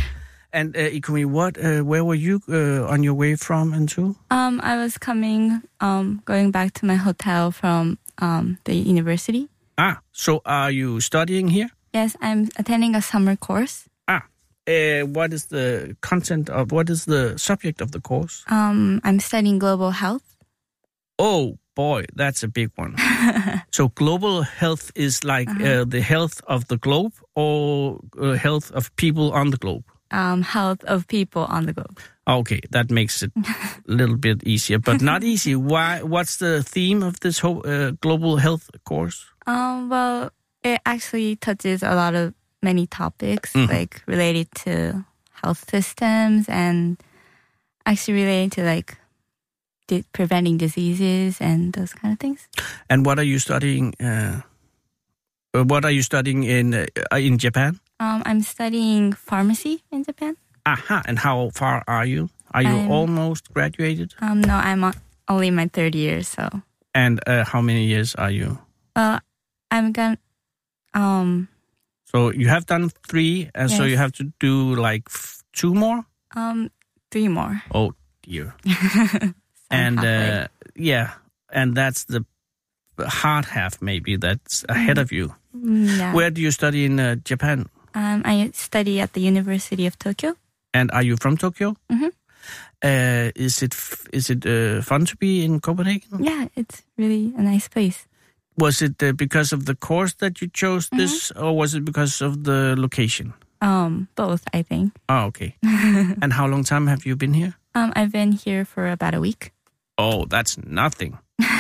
And uh, Ikumi, what? Uh, where were you uh, on your way from and to? Um, I was coming, um, going back to my hotel from um, the university. Ah, so are you studying here? Yes, I'm attending a summer course. Ah, uh, what is the content of what is the subject of the course? Um, I'm studying global health. Oh boy, that's a big one. so global health is like uh the health of the globe or uh, health of people on the globe. Um, health of people on the globe. Okay, that makes it a little bit easier, but not easy. Why? What's the theme of this whole uh, global health course? Um, well, it actually touches a lot of many topics, Mm-hmm. like related to health systems and actually related to like di- preventing diseases and those kind of things. And what are you studying? Uh, uh, what are you studying in uh, in Japan? Um, I'm studying pharmacy in Japan. Aha! And how far are you? Are you I'm- almost graduated? Um, no, I'm on, only in my third year, so And uh, how many years are you? uh, I'm gonna um So you have done three, and so Yes. you have to do like f- two more. um three more. Oh dear! So I'm and halfway. uh, yeah, and that's the hard half maybe that's ahead of you. Mm, Mm-hmm. yeah, Where do you study in uh, Japan? um, I study at the University of Tokyo. And are you from Tokyo? Mhm. Uh, is it f- is it uh, fun to be in Copenhagen? Yeah, it's really a nice place. Was it uh, because of the course that you chose this, Mm-hmm. or was it because of the location? Um, both, I think. Oh, okay. and how long time have you been here? Um, I've been here for about a week. Oh, that's nothing.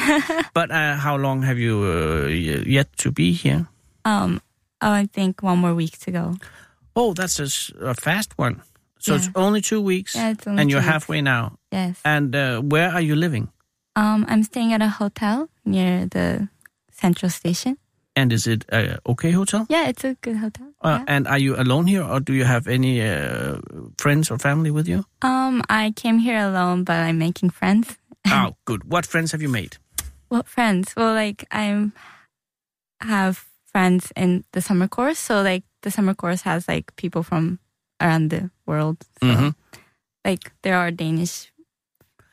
but uh, how long have you uh, y- yet to be here? Um, oh, I think one more week to go. Oh, that's a, s- a fast one. So it's Yeah. only two weeks, Yeah, it's only and you're two weeks. halfway now. Yes. And uh, where are you living? Um, I'm staying at a hotel near the central station. And is it a okay hotel? Yeah, it's a good hotel. Uh, yeah. And are you alone here, or do you have any uh, friends or family with you? Um, I came here alone, but I'm making friends. oh, good. What friends have you made? Well, friends. Well, like I'm have friends in the summer course, so like the summer course has like people from around the world. So, Mhm. Like there are Danish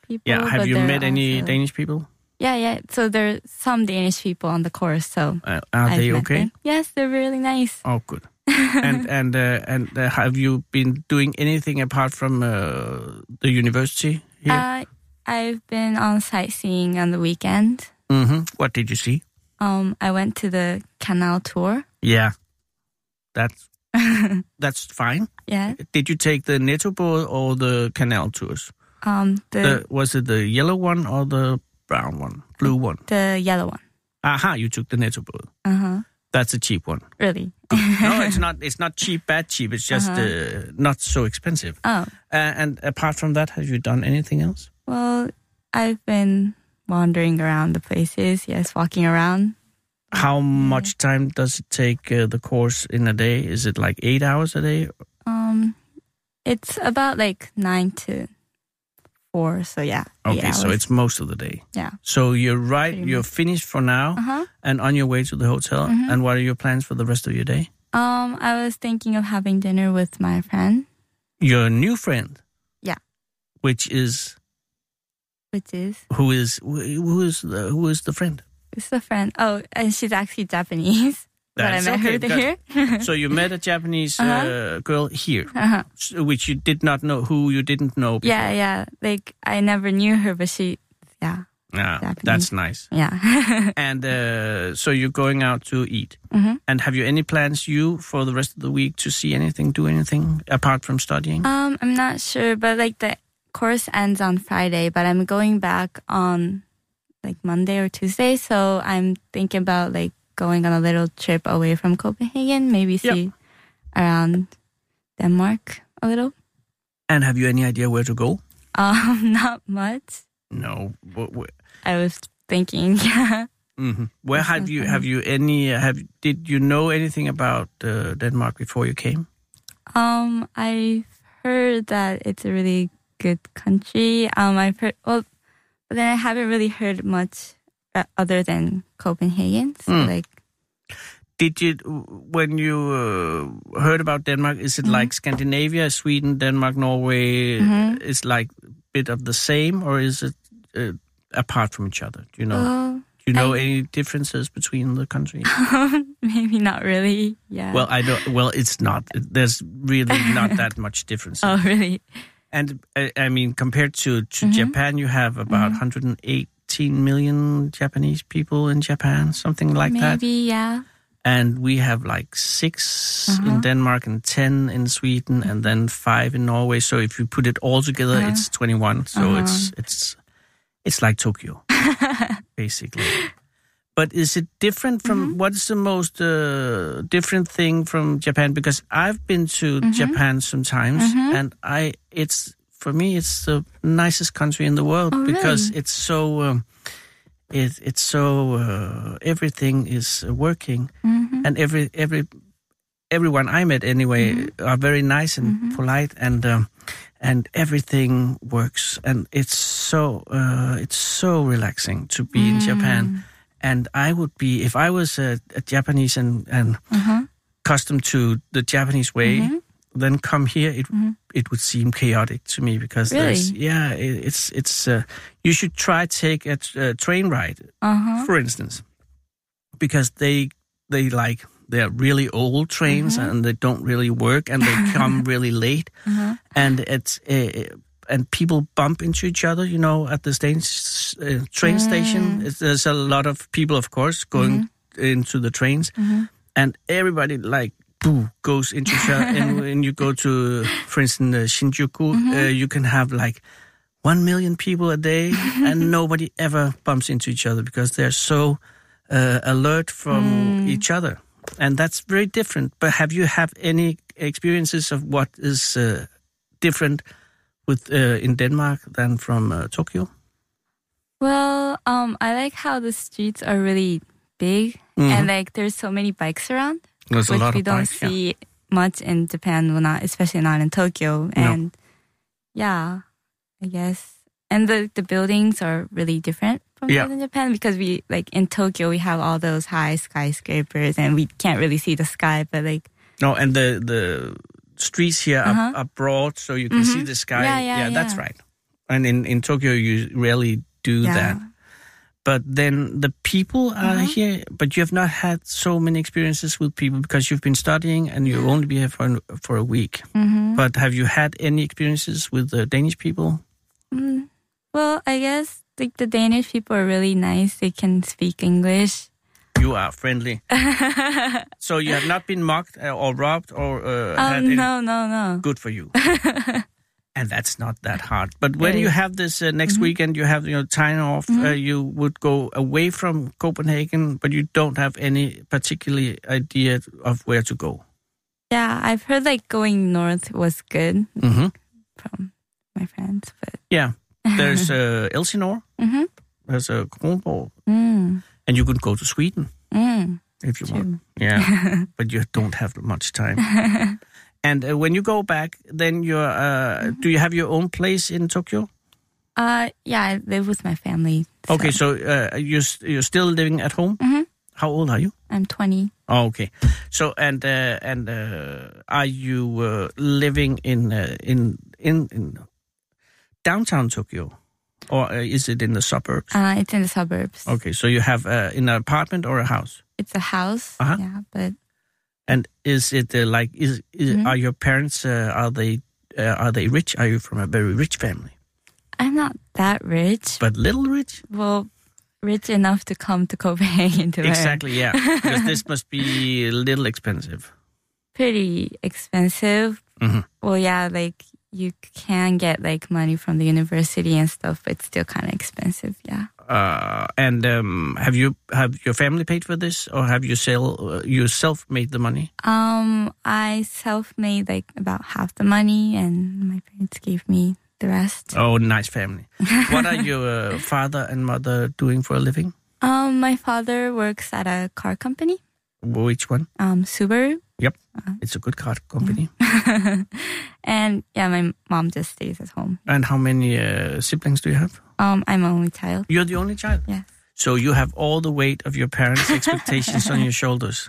people. Yeah. have Oh, but you there are met any also- Danish people? Yeah, yeah. So there are some Danish people on the course. So Uh, are I've they met okay? them. Yes, they're really nice. Oh, good. and and uh, and uh, have you been doing anything apart from uh, the university here? Uh, I've been on sightseeing on the weekend. hmm What did you see? Um, I went to the canal tour. Yeah, that's that's fine. Yeah. Did you take the Netto boat or the canal tours? Um, the The, was it the yellow one or the brown one, blue one? the yellow one. Aha, you took the Netto boat. Uh huh. That's a cheap one. Really. No, it's not. It's not cheap, bad cheap. It's just uh not so expensive. Oh. Uh, and apart from that, have you done anything else? Well, I've been wandering around the places, yes, walking around. How Mm-hmm. much time does it take uh, the course in a day? Is it like eight hours a day? Um it's about like 9 to 4, so yeah. eight Okay, so hours. it's most of the day. yeah. So you're right. Pretty Uh-huh. Mm-hmm. You're finished for now, and on your way to the hotel. And what are your plans for the rest of your day? Um I was thinking of having dinner with my friend, Your new friend. Yeah. Which is which is who is wh- who is the, who is the friend? it's a friend. Oh, and she's actually Japanese. but I That's met okay, her there. so you met a Japanese uh, girl here, Uh-huh. s- which you did not know who you didn't know. Before. Yeah, yeah. Like I never knew her, but she yeah. Ah, Japanese. that's nice. Yeah. And uh, so you're going out to eat. Mhm. And have you any plans you for the rest of the week to see anything, do anything apart from studying? Um, I'm not sure, but like the course ends on Friday, but I'm going back on like Monday or Tuesday, so I'm thinking about like going on a little trip away from Copenhagen, maybe see around Denmark a little. and have you any idea where to go? Um, not much. No. Wh- wh- I was thinking, yeah. hmm Where have you have you any have did you know anything about uh, Denmark before you came? Um, I've heard that it's a really good country. Um, I've heard well, but then I haven't really heard much uh, other than Copenhagen. So Mm. like, Did you when you uh, heard about Denmark? Is it like Scandinavia, Sweden, Denmark, Norway? Mhm. Is like bit of the same, or is it uh, apart from each other? Do you know? oh, Do you know I- any differences between the countries? Oh. maybe not really. Yeah. Well, I don't. Well, it's not. There's really not that much difference. oh really? And uh, I mean, compared to, to Japan, you have about 118 million Japanese people in Japan, something like that. maybe yeah. And we have like 6 in Uh-huh. Denmark and 10 in Sweden and then five in Norway. So if you put it all together, Uh-huh. it's 21. So Uh-huh. it's, it's, it's like Tokyo, basically. But is it different from Mm-hmm. what's the most uh, different thing from Japan? Because I've been to Mm-hmm. Japan sometimes, and I it's for me it's the nicest country in the world Oh, because really? it's so um, it it's so uh, everything is uh, working, Mm-hmm. and every every everyone I met anyway are very nice and polite and. Um, and everything works and it's so uh, it's so relaxing to be in Mm. Japan and I would be if I was a, a Japanese and and Mm-hmm. accustomed to the Japanese way then come here it it would seem chaotic to me because there's Really? yeah it, it's it's uh, you should try take a, t- a train ride Uh huh. for instance because they they like they're really old trains and they don't really work and they come really late Mm-hmm. and it's uh, and people bump into each other you know at the stain- uh, train station It's- there's a lot of people of course going into the trains and everybody like boo goes into each other and when you go to for instance uh, Shinjuku uh, you can have like one million people a day, and nobody ever bumps into each other because they're so uh, alert from each other, and that's very different. But have you have any experiences of what is uh, different with uh, in Denmark than from uh, Tokyo? Well, um, I like how the streets are really big Mm-hmm. and like there's so many bikes around, There's which we don't see much in Japan, well, not especially not in Tokyo. And yeah, I guess. And the the buildings are really different from Yeah. in Japan because we like in Tokyo we have all those high skyscrapers and we can't really see the sky, but like No, and the the streets here are, Uh-huh. Mm-hmm. are broad, so you can see the sky. Yeah, yeah, that's yeah. right. And in in Tokyo, you rarely do Yeah. Uh-huh. that. But then the people are here, but you have not had so many experiences with people because you've been studying and you've only been here for an, for a week. Mm-hmm. But have you had any experiences with the Danish people? mm, well, I guess like the Danish people are really nice. They can speak English. You are friendly, so you have not been mocked uh, or robbed or uh, had Um, any no, no, no. good for you. and that's not that hard. But when Right. you have this uh, Mm-hmm. next weekend, you have your time off. Uh, you would go away from Copenhagen, but you don't have any particular idea of where to go. Yeah, I've heard like going north was good Mm-hmm. from my friends, but Yeah, there's uh, Elsinore. Mhm. There's a uh, Kronborg, mm, and you could go to Sweden mm, if you want. true. Yeah, but you don't have much time. And uh, when you go back, then you're. Uh, Do you have your own place in Tokyo? Uh, yeah, I live with my family. so Okay, so uh, you you're still living at home. Mhm. How old are you? I'm 20. Oh, okay. So and uh, and uh, are you uh, living in uh, in in in downtown Tokyo, or uh, is it in the suburbs? Uh, it's in the suburbs. Okay, so you have uh, in an apartment or a house, It's a house. Uh-huh. Yeah, but and is it uh, like is, is Mhm. are your parents uh, are they uh, are they rich? Are you from a very rich family, I'm not that rich. but little rich? well, rich enough to come to Copenhagen to learn. Exactly, yeah. because this must be a little expensive. Pretty expensive. Mhm. Well, yeah, like you can get like money from the university and stuff, but it's still kind of expensive. Yeah. uh, and um, have you have your family paid for this, or have you sell uh, yourself made the money? Um, I self-made like about half the money, and my parents gave me the rest. Oh, nice family. what are your uh, father and mother doing for a living? Um, my father works at a car company, Which one? um, Subaru, It's a good car company. Mm-hmm. and yeah, my mom just stays at home. And how many uh, siblings do you have? Um, I'm an only child. You're the only child. Yes. So you have all the weight of your parents' expectations on your shoulders.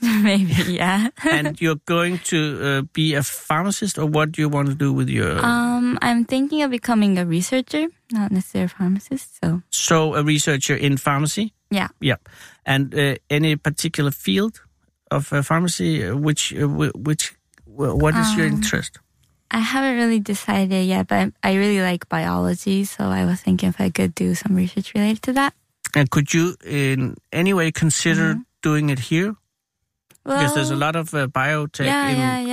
Maybe, yeah. And you're going to uh, be a pharmacist, or what do you want to do with your? Um, I'm thinking of becoming a researcher, not necessarily a pharmacist. So, so a researcher in pharmacy. yeah. Yep. And uh, any particular field of uh, pharmacy, uh, which uh, wh- which wh- what is Um. your interest? I haven't really decided yet, but I really like biology, so I was thinking if I could do some research related to that. And could you in any way consider doing it here? Mm-hmm. Well, because there's a lot of uh, biotech in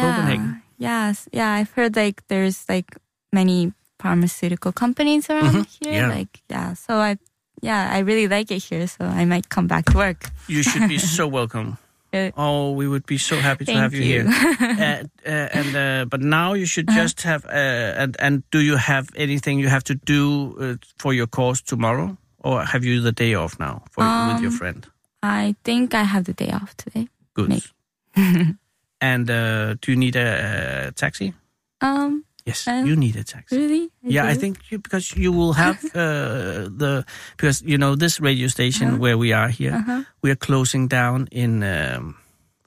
Copenhagen. Yes, yeah, I've heard like there's like many pharmaceutical companies around here. Mm-hmm. yeah. Like, yeah, so I, yeah, I really like it here, so I might come back to work. You should be so welcome. Uh, Oh, we would be so happy to Thank have you, you. Uh-huh. here. uh, uh, and uh, but now you should just have. Uh, and and do you have anything you have to do uh, for your course tomorrow, or have you the day off now for, with your Um, friend? I think I have the day off today. Good. maybe. and uh, do you need a, uh taxi? Um, Yes, Uh, you need a taxi. really? Yeah, I do? think you, because you will have uh, the because you know this radio station where we are here, we are closing down in um,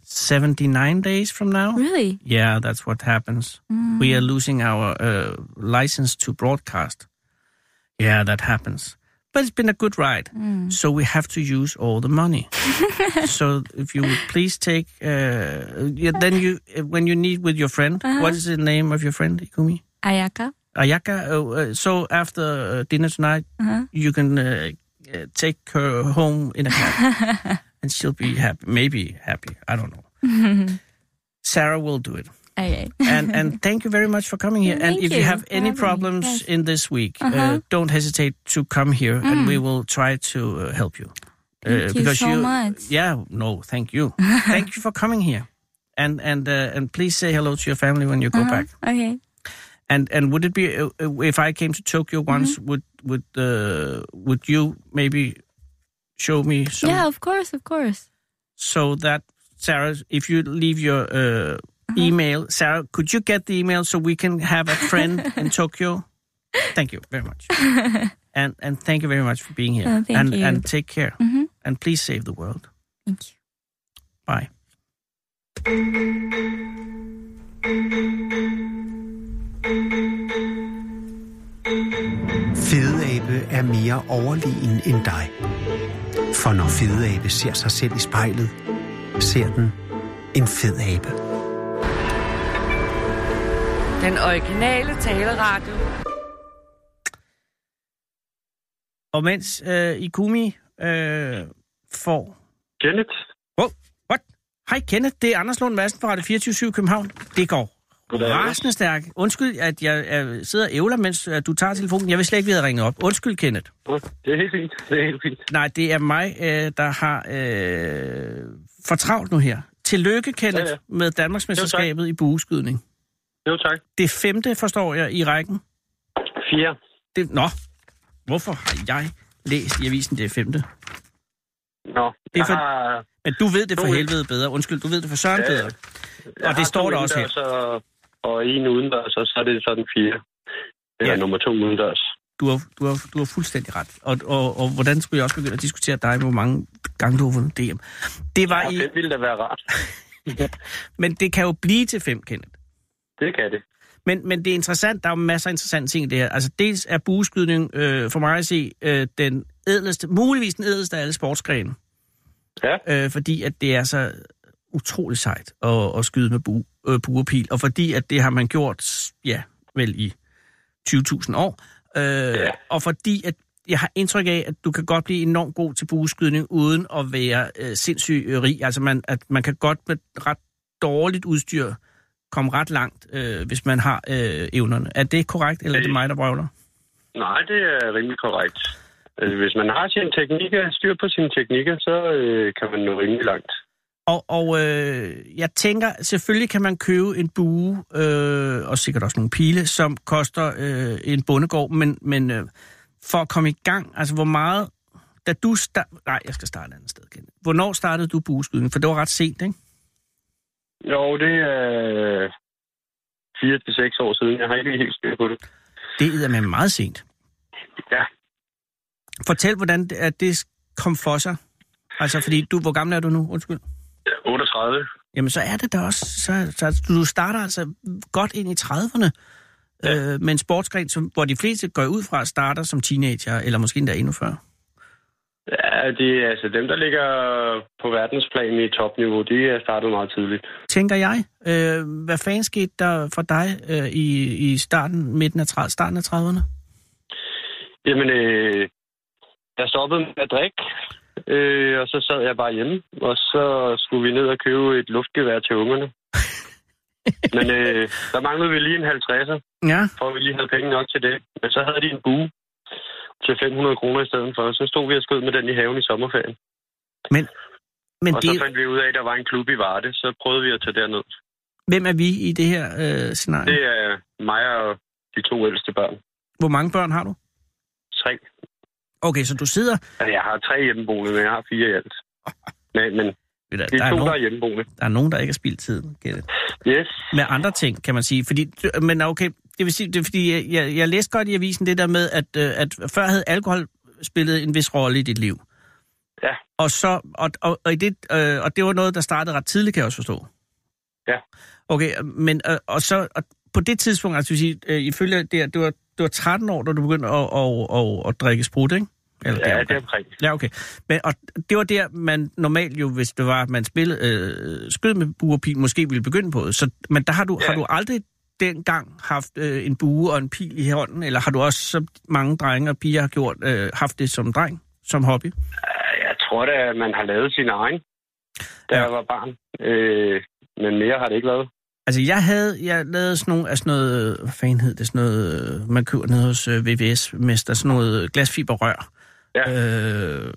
seventy nine days from now. Really? Yeah, that's what happens. We are losing our uh, license to broadcast. Yeah, that happens. But it's been a good ride. Mm. So we have to use all the money. so if you would please take, uh, yeah, then you when you need with your friend, what is the name of your friend, Ikumi? Ayaka? Ayaka. Uh, uh, so after uh, dinner tonight, Uh-huh. you can uh, uh, take her home in a cab, and she'll be happy. Maybe happy. I don't know. Sarah will do it. Okay. And and thank you very much for coming here. and Thank if you you have for any having me. problems Yes. Uh-huh. in this week, uh don't hesitate to come here, and we will try to uh, help you. Mm. Uh, Thank you so much. Yeah. No. Thank you. thank you for coming here. And and uh, and please say hello to your family when you go back. Uh-huh. Okay. And and would it be uh, uh, if I came to Tokyo Mm-hmm. once? Would would uh, would you maybe show me some yeah, of course, of course. so that Sarah, if you leave your uh, Uh-huh. email, Sarah, could you get the email so we can have a friend in Tokyo? Thank you very much, and and thank you very much for being here. Oh, thank and you. Mm-hmm. and take care, and please save the world. Thank you. Bye. Fedeabe er mere overlegen end dig. For når fedeabe ser sig selv i spejlet, ser den en fed abe. Den originale taleradio. Og mens øh, Ikumi øh, får Kenneth, Wow, what? Hej Kenneth, det er Anders Lund Madsen fra Radio 24 København. Det går Goddag, Anders. rasende stærkt. Undskyld, at jeg øh, sidder og ævler, mens øh, du tager telefonen. Jeg vil slet ikke, vi havde ringet op. Undskyld, Kenneth. det er helt fint. Det er helt fint. Nej, det er mig, øh, der har øh, for travlt nu her. Tillykke, Kenneth, Ja, ja. med Danmarksmesterskabet i bueskydning. Jo, tak. Det femte, forstår jeg, i rækken. Fire. Det, nå, hvorfor har jeg læst i avisen det er femte? Nå, Det er jeg for- har... Men du ved det for Nå, ja. helvede bedre. Undskyld, du ved det for søren Ja, ja. bedre. jeg det har står to der også her. indendørs Og, og en udendørs, og så er det sådan fire. Eller Ja. ja. nummer to udendørs. du har, du, har, du har fuldstændig ret. Og, og, og hvordan skulle jeg også begynde at diskutere dig med, hvor mange gange du har vundet DM? Det var Og i, det ville da være rart. men det kan jo blive til fem, Kenneth. Det kan det. Men, men det er interessant, der er jo masser af interessante ting i det her. Altså dels er bueskydning øh, for mig at se øh, den ædleste, muligvis den ædleste af alle sportsgrene. Ja. Øh, fordi at det er så utrolig sejt at, at skyde med bu, øh, buerpil. Og fordi at det har man gjort, s- ja, vel i 20.000 år. Øh, ja. Og fordi at jeg har indtryk af, at du kan godt blive enormt god til bueskydning, uden at være øh, sindssyg øh, rig. Altså man, at man kan godt med ret dårligt udstyr komme ret langt, øh, hvis man har øh, evnerne. Er det korrekt, eller er det mig, der brøvler? Nej, det er rimelig korrekt. Altså, hvis man har sine teknikker, styr på sine teknikker, så øh, kan man nå rimelig langt. Og, og øh, jeg tænker, selvfølgelig kan man købe en bue, øh, og sikkert også nogle pile, som koster øh, en bondegård, men, men øh, for at komme i gang, altså hvor meget da du... Sta- Nej, jeg skal starte et andet sted igen. Hvornår startede du bueskydning? For det var ret sent, ikke? Jo, det er 4 til seks år siden. Jeg har ikke helt styr på det. Det er med meget sent. Ja. Fortæl, hvordan det- at det kom for sig. Altså, fordi du... Hvor gammel er du nu? Undskyld. 38. Jamen, så er det da også... Så, så du starter altså godt ind i 30'erne ja. øh, med en sportsgren, som, hvor de fleste går ud fra starter som teenager, eller måske endda endnu før. Ja, det er altså dem, der ligger på verdensplan i topniveau, de er startet meget tidligt. Tænker jeg, øh, hvad fanden skete der for dig øh, i, i starten, midten af, 30, starten af 30'erne? Jamen, øh, jeg stoppede med at drikke, øh, og så sad jeg bare hjemme, og så skulle vi ned og købe et luftgevær til ungerne. Men øh, der manglede vi lige en 50'er, Ja, for at vi lige havde penge nok til det. Men så havde de en bue til 500 kroner i stedet for, og så stod vi og skød med den i haven i sommerferien. men og det, så fandt vi ud af, at der var en klub i Varde, så prøvede vi at tage derned. hvem er vi i det her øh, scenarie? Det er mig og de to ældste børn. Hvor mange børn har du? Tre. Okay, så du sidder... Altså, jeg har tre hjemmeboende, men jeg har fire i alt. Men, men Ved du, det Der er er, to, der nogen, er hjemmeboende. der er nogen, der ikke har spildt tiden. Gæt det. Yes. Med andre ting, kan man sige. Fordi, men okay, det vil sige, det er fordi, jeg, jeg, jeg læste godt i avisen det der med, at, øh, at før havde alkohol spillet en vis rolle i dit liv. Ja. Og, så, og, og, og, i det, øh, og det var noget, der startede ret tidligt, kan jeg også forstå. Ja. Okay, øh, men øh, og så og på det tidspunkt, altså det vil sige, øh, ifølge det, her, du var, du var 13 år, da du begyndte at, at, at, at, at drikke sprut, ikke? Eller Ja, det deromkring. er omkring. Ja, okay. Men, og det var der, man normalt jo, hvis det var, at man spillede, øh, skød med bue og pil, måske ville begynde på det. Så, men der har du, ja. Ja. har du aldrig dengang haft øh, en bue og en pil i hånden, eller har du også, som mange drenge og piger har gjort, øh, haft det som dreng, som hobby? Jeg tror da, at man har lavet sin egen, da Ja. ja. jeg var barn. Øh, men mere har det ikke været. Altså, jeg havde, jeg lavede sådan nogle af sådan noget, hvad fanden hed det, sådan noget, øh, man køber nede hos øh, VVS-mester, sådan noget glasfiberrør. Ja. Øh,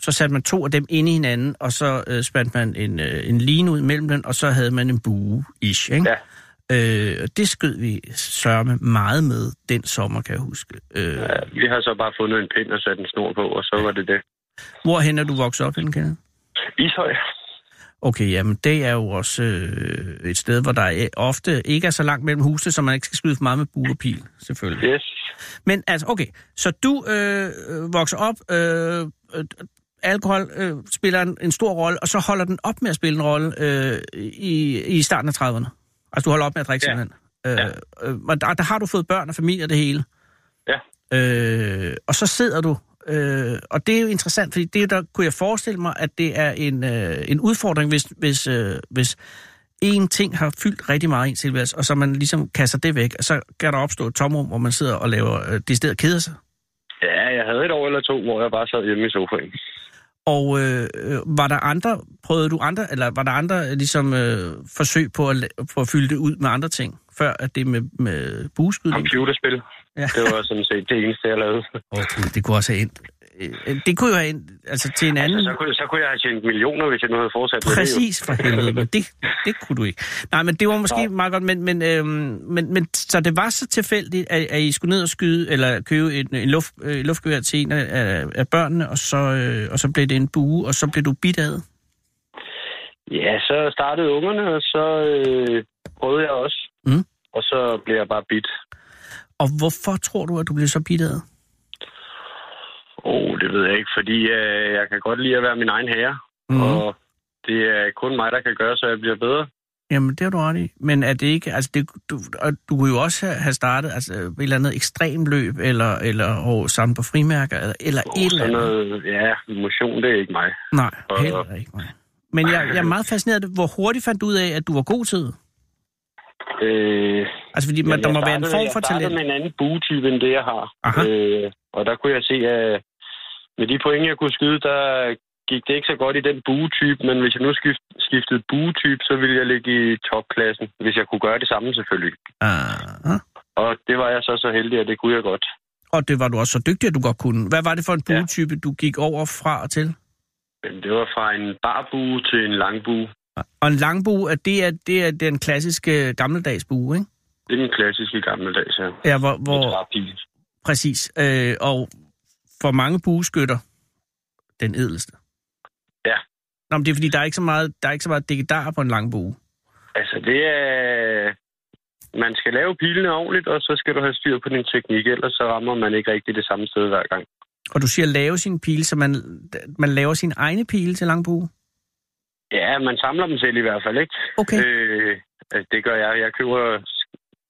så satte man to af dem ind i hinanden, og så øh, spandte man en, øh, en line ud mellem dem, og så havde man en bue-ish, ikke? Ja. Øh, og det skød vi sørme meget med den sommer, kan jeg huske. Øh, ja. ja. Vi har så bare fundet en pind og sat en snor på, og så var det det. Hvorhen er du vokset op, henne, Kenneth? Ishøj. Okay, jamen det er jo også øh, et sted, hvor der er, ofte ikke er så langt mellem husene, så man ikke skal skyde for meget med bue og pil, selvfølgelig. Yes. Men altså, okay, så du øh, øh, vokser op, øh, øh, alkohol øh, spiller en, en stor rolle, og så holder den op med at spille en rolle øh, i, i starten af 30'erne. Altså, du holder op med at drikke Ja. simpelthen. Øh, øh, og der, der har du fået børn og familie og det hele. Ja. Øh, og så sidder du, øh, og det er jo interessant, fordi det der kunne jeg forestille mig, at det er en, øh, en udfordring, hvis, hvis, øh, hvis en ting har fyldt rigtig meget i ens tilværelse, og så man ligesom kaster det væk, så kan der opstå et tomrum, hvor man sidder og laver øh, det sted og keder sig. Ja, jeg havde et år eller to, hvor jeg bare sad hjemme i sofaen. Og øh, øh, var der andre, prøvede du andre, eller var der andre øh, ligesom øh, forsøg på at, la- på at fylde det ud med andre ting, før at det med, med bueskydning? Computerspil. Ja. Ja. Det var sådan set det eneste, jeg lavede. Okay, det kunne også have endt. øh, øh, Det kunne jo have endt, altså til en anden... Altså, så, kunne, så kunne jeg have tjent millioner, hvis jeg nu havde fortsat med det. jo. Præcis for helvede, men det, det kunne du ikke. Nej, men det var måske Nej. meget godt, men, men, øhm, men, men så det var så tilfældigt, at, at I skulle ned og skyde, eller købe en, en luft, øh, luftgevær til en af, af- af børnene, og så, øh, og så blev det en bue, og så blev du bidt ad. Ja, så startede ungerne, og så øh, prøvede jeg også. Mm. Og så blev jeg bare bidt. Og hvorfor tror du, at du blev så bidt ad? Åh, oh, det ved jeg ikke, fordi øh, jeg kan godt lide at være min egen herre. Mm. Og det er kun mig, der kan gøre, så jeg bliver bedre. Jamen, det har du ret i. Men er det ikke, altså det, du, og du kunne jo også have- have startet altså, et eller andet ekstremløb, eller, eller og samle på frimærker, eller, eller Og et eller sådan andet. noget, ja, motion, det er ikke mig. Nej, Og- heller ikke mig. Men jeg, jeg er meget fascineret af, hvor hurtigt fandt du ud af, at du var god til det? Øh, Altså, fordi man, jeg der må være en startede- form for Jeg startede talent. med en anden buetype, end det, jeg har. Aha. Øh, og der kunne jeg se, at med de point, jeg kunne skyde, der gik det ikke så godt i den buetype, men hvis jeg nu skift, skiftede buetype, så ville jeg ligge i topklassen, hvis jeg kunne gøre det samme selvfølgelig. Ah. Og det var jeg så så heldig, at det kunne jeg godt. Og det var du også så dygtig, at du godt kunne. Hvad var det for en Ja. buetype, du gik over fra og til? Men det var fra en barbue til en langbue. Og en langbue, at det er, det er den klassiske øh, gammeldags bue, ikke? Det er den klassiske gamle dag, så. Ja, hvor, Hvor... hvor præcis. Øh, og for mange bueskytter, Den edelste. Ja. Nå, men det er fordi, der er ikke så meget, der er ikke så meget digedar på en lang bue. Altså, det er... Man skal lave pilene ordentligt, og så skal du have styr på din teknik, ellers så rammer man ikke rigtig det samme sted hver gang. Og du siger lave sin pile, så man, man laver sin egne pile til lang bue. Ja, man samler dem selv i hvert fald, ikke? Okay. Øh, altså, det gør jeg. Jeg køber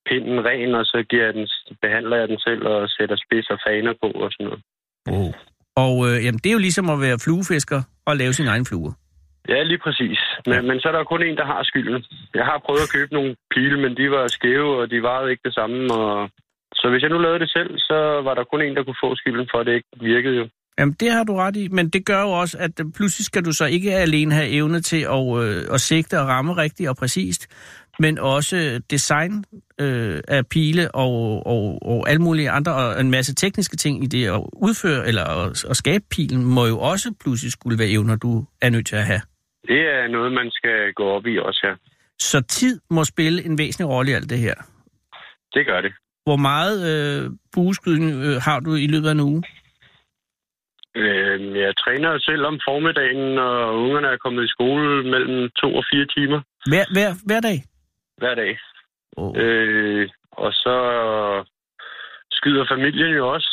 pinden ren, og så giver jeg den, behandler jeg den selv og sætter spids og faner på og sådan noget. Wow. Og øh, jamen, det er jo ligesom at være fluefisker og lave sin egen flue. Ja, lige præcis. Men, men så er der jo kun en, der har skylden. Jeg har prøvet at købe nogle pile, men de var skæve, og de varede ikke det samme. Og... Så hvis jeg nu lavede det selv, så var der kun en, der kunne få skylden for, at det ikke virkede jo. Jamen, det har du ret i, men det gør jo også, at øh, pludselig skal du så ikke alene have evne til at, øh, at sigte og ramme rigtigt og præcist, men også øh, design øh, af pile og, og, og alle mulige andre, og en masse tekniske ting i det at udføre eller at, at skabe pilen, må jo også pludselig skulle være evner, du er nødt til at have. Det er noget, man skal gå op i også, ja. Så tid må spille en væsentlig rolle i alt det her. Det gør det. Hvor meget øh, bueskydning øh, har du i løbet af en uge? Øh, jeg træner selv om formiddagen, og ungerne er kommet i skole mellem to og fire timer Hver, hver, hver dag? hver dag. Oh. Øh, og så skyder familien jo også.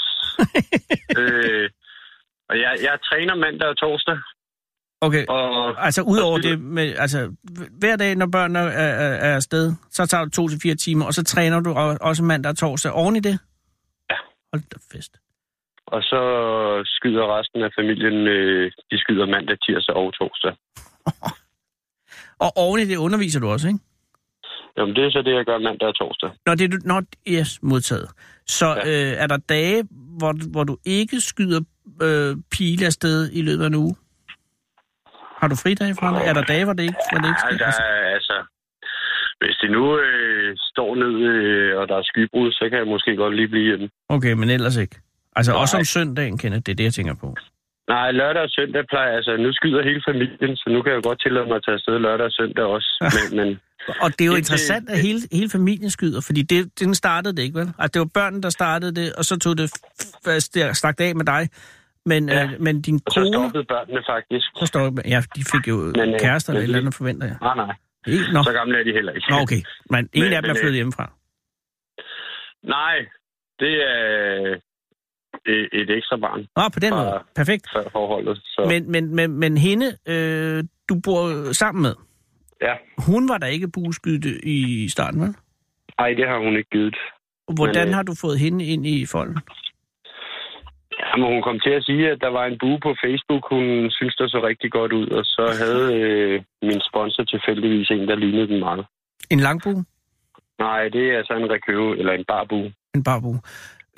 øh, og jeg, jeg træner mandag og torsdag. Okay, Og Altså udover det, med, altså hver dag, når børnene er, er, er afsted, så tager du to til fire timer, og så træner du o- også mandag og torsdag oven i det? Ja. Hold da fest. Og så skyder resten af familien, øh, de skyder mandag, tirsdag og torsdag. Og oven i det underviser du også, ikke? Jamen, det er så det, jeg gør mandag og torsdag. Når det er du- når, yes, modtaget. Så ja. Ja. øh, er der dage, hvor, du- hvor du ikke skyder øh, pile afsted i løbet af en uge? Har du fridag fra det? Er der dage, hvor det ikke, hvor det ikke Ja, sker? der er, altså, hvis det nu øh, står ned, øh, og der er skybrud, så kan jeg måske godt lige blive hjemme. Okay, men ellers ikke. Altså Nej. også Nej. om søndagen, Kenneth, det er det, jeg tænker på. Nej, lørdag og søndag plejer, altså, nu skyder hele familien, så nu kan jeg godt tillade mig at tage afsted lørdag og søndag også. Men, men Og det er jo Det- interessant, at det- hele, hele familien skyder, fordi det, den startede det ikke, vel? Altså, det var børnene, der startede det, og så tog det f- fast, det slagt af med dig. Men, ja. Ja. øh, men din og så kone... stoppede børnene faktisk. Så står ja, de fik jo men, Men, øh, kærester eller et men det- eller andet, forventer jeg. Ah, Nej, nej, Ikke? Nå, så gamle er de heller ikke. Nå okay. Men en Men- af dem er men, øh, flyttet hjemmefra. Nej, det er øh, et ekstra barn Nå, på den fra- måde. Perfekt. før forholdet. Så, Men, men, men, men hende, øh, du bor sammen med, ja. hun var da ikke bueskytte i starten, vel? Ej, det har hun ikke givet. Hvordan øh, har du fået hende ind i folden? Jamen, hun kom til at sige, at der var en bue på Facebook, hun syntes, der så rigtig godt ud, og så havde øh, min sponsor tilfældigvis en, der lignede den meget. En langbue? Nej, det er altså en rekøve, eller en barbue. En barbue.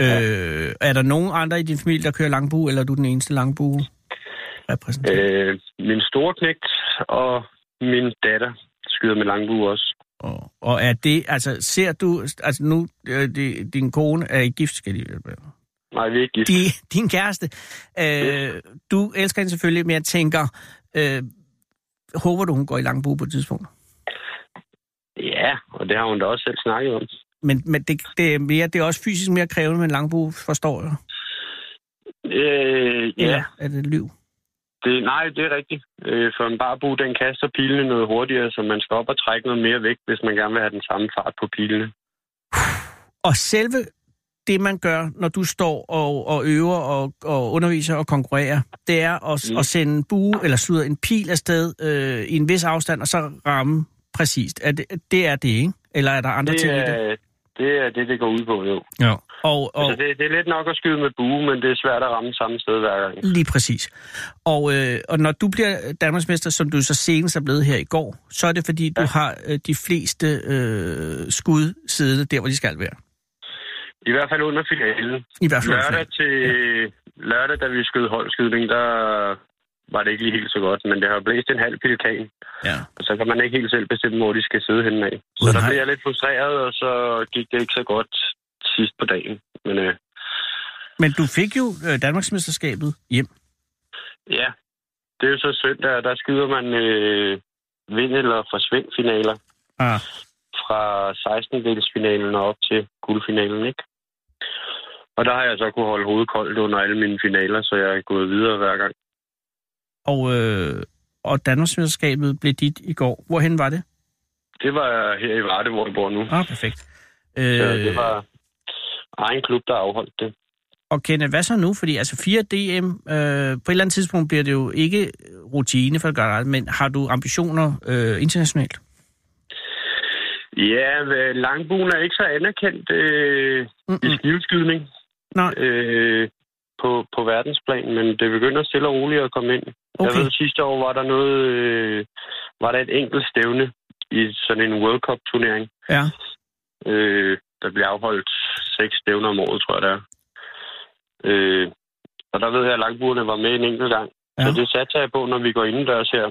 Øh, er der nogen andre i din familie, der kører langbue, eller er du den eneste langbue repræsentant? Øh. Øh, min store knægt og min datter skyder med langbue også. Og, og er det, altså ser du, altså nu, øh, det, din kone er i gift, skal jeg lige Nej, vi er ikke gift. de, din kæreste, øh, du elsker hende selvfølgelig, men jeg tænker, øh, håber du, hun går i langbue på et tidspunkt? Ja, og det har hun da også selv snakket om. Men, men det, det, er mere, det er også fysisk mere krævende med en langbue, forstår jeg. Øh, ja, Eller er det liv? det, nej, det er rigtigt. Øh, for en barbu, den kaster pilene noget hurtigere, så man skal op og trække noget mere væk, hvis man gerne vil have den samme fart på pilene. Og selve det, man gør, når du står og, og øver og, og underviser og konkurrerer, det er at, mm. Mm. at sende en bue eller slutter en pil afsted øh, i en vis afstand, og så ramme præcist. Er det, det er det, ikke? Eller er der andre Det ting i det? er, det er det, det går ud på, jo. Ja. Og, og, Altså, det, det er lidt nok at skyde med bue, men det er svært at ramme samme sted hver gang. Lige præcis. Og, øh, og når du bliver Danmarksmester, som du så senest er blevet her i går, så er det fordi, du har øh, de fleste øh, skud siddende der, hvor de skal være. I hvert fald under finalen. I hvert fald. Lørdag til lørdag, da vi skød holdskydning, der var det ikke lige helt så godt, men det har blæst en halv pelikan, Ja. og så kan man ikke helt selv bestemme, hvor de skal sidde henne af. Så Gud, der nej. blev jeg lidt frustreret, og så gik det ikke så godt sidst på dagen. Men øh, Men du fik jo øh, Danmarksmesterskabet hjem. ja, det er jo så søndag, og der skyder man øh, vind- eller forsvind-finaler Ah. fra 16-delsfinalen og op til guldfinalen, ikke? Og der har jeg så kunne holde hovedet koldt under alle mine finaler, så jeg er gået videre hver gang. og, øh, og Danmarksmesterskabet blev dit i går. Hvorhen var det? Det var her i Varde, hvor jeg bor nu. Ah, perfekt. Så Øh, det var egen klub, der afholdt det. Og Kenneth, hvad så nu? Fordi altså 4 DM, øh, på et eller andet tidspunkt bliver det jo ikke rutine for at gøre det, aldrig, men har du ambitioner øh, internationalt? Ja, øh, langbuen er ikke så anerkendt øh, i Mm-mm. skiveskydning Nej, øh, på, på verdensplan, men det begynder stille og roligt at komme ind. Okay. Jeg okay. ved, sidste år var der noget, øh, var der et enkelt stævne i sådan en World Cup-turnering. Ja. Øh, der bliver afholdt seks stævner om året, tror jeg, der øh, Og der ved jeg, at langburerne var med en enkelt gang. Ja. Ja. Så det satser jeg på, når vi går indendørs her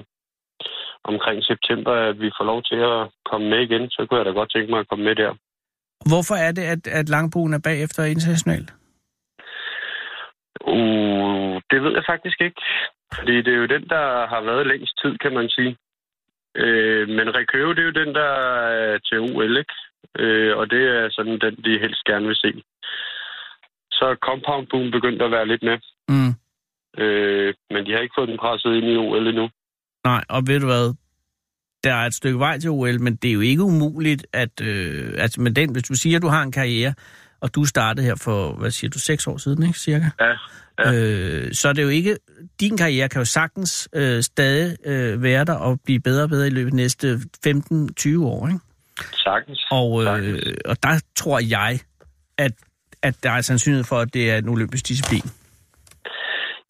omkring september, at vi får lov til at komme med igen. Så kunne jeg da godt tænke mig at komme med der. Hvorfor er det, at, at Langbuen er bagefter internationalt? Uh, det ved jeg faktisk ikke. Fordi det er jo den, der har været længst tid, kan man sige. Øh, men Rekøve, det er jo den, der er til OL, ikke? Øh, og det er sådan den, de helst gerne vil se. Så er Compound Boom begyndt at være lidt med. Mm. Øh, men de har ikke fået den presset ind i OL endnu. Nej, og ved du hvad? Der er et stykke vej til OL, men det er jo ikke umuligt, at, øh, at med den, hvis du siger, at du har en karriere, og du startede her for, hvad siger du, seks år siden, ikke, cirka? Ja, ja. Øh, så er det jo ikke, din karriere kan jo sagtens øh, stadig øh, være der og blive bedre og bedre i løbet af de næste 15-20 år, ikke? Sagtens. Og, øh, Sagtens. og der tror jeg, at, at der er sandsynlighed for, at det er en olympisk disciplin.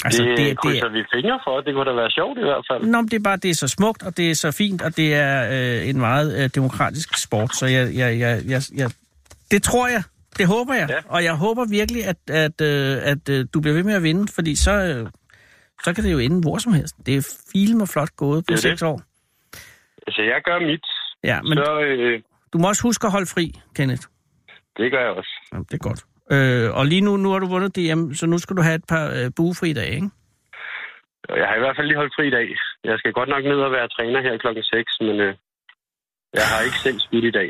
Altså, det, det er- krydser vi fingre for. Det kunne da være sjovt i hvert fald. Nå, men det er bare, det er så smukt, og det er så fint, og det er øh, en meget øh, demokratisk sport, så jeg, jeg, jeg, jeg, jeg, det tror jeg, det håber jeg, Ja. og jeg håber virkelig, at, at, øh, at øh, du bliver ved med at vinde, fordi så, øh, så kan det jo ende hvor som helst. Det er film og flot gået Det på er seks år. Altså, jeg gør mit. Ja, men Men... Så øh, du må også huske at holde fri, Kenneth. det gør jeg også. Jamen, det er godt. Øh, og lige nu, nu har du vundet DM, så nu skal du have et par øh, bugefri dage, ikke? Og Jeg har i hvert fald lige holdt fri i dag. Jeg skal godt nok ned og være træner her klokken 6, men øh, jeg har ikke selv spidt i dag.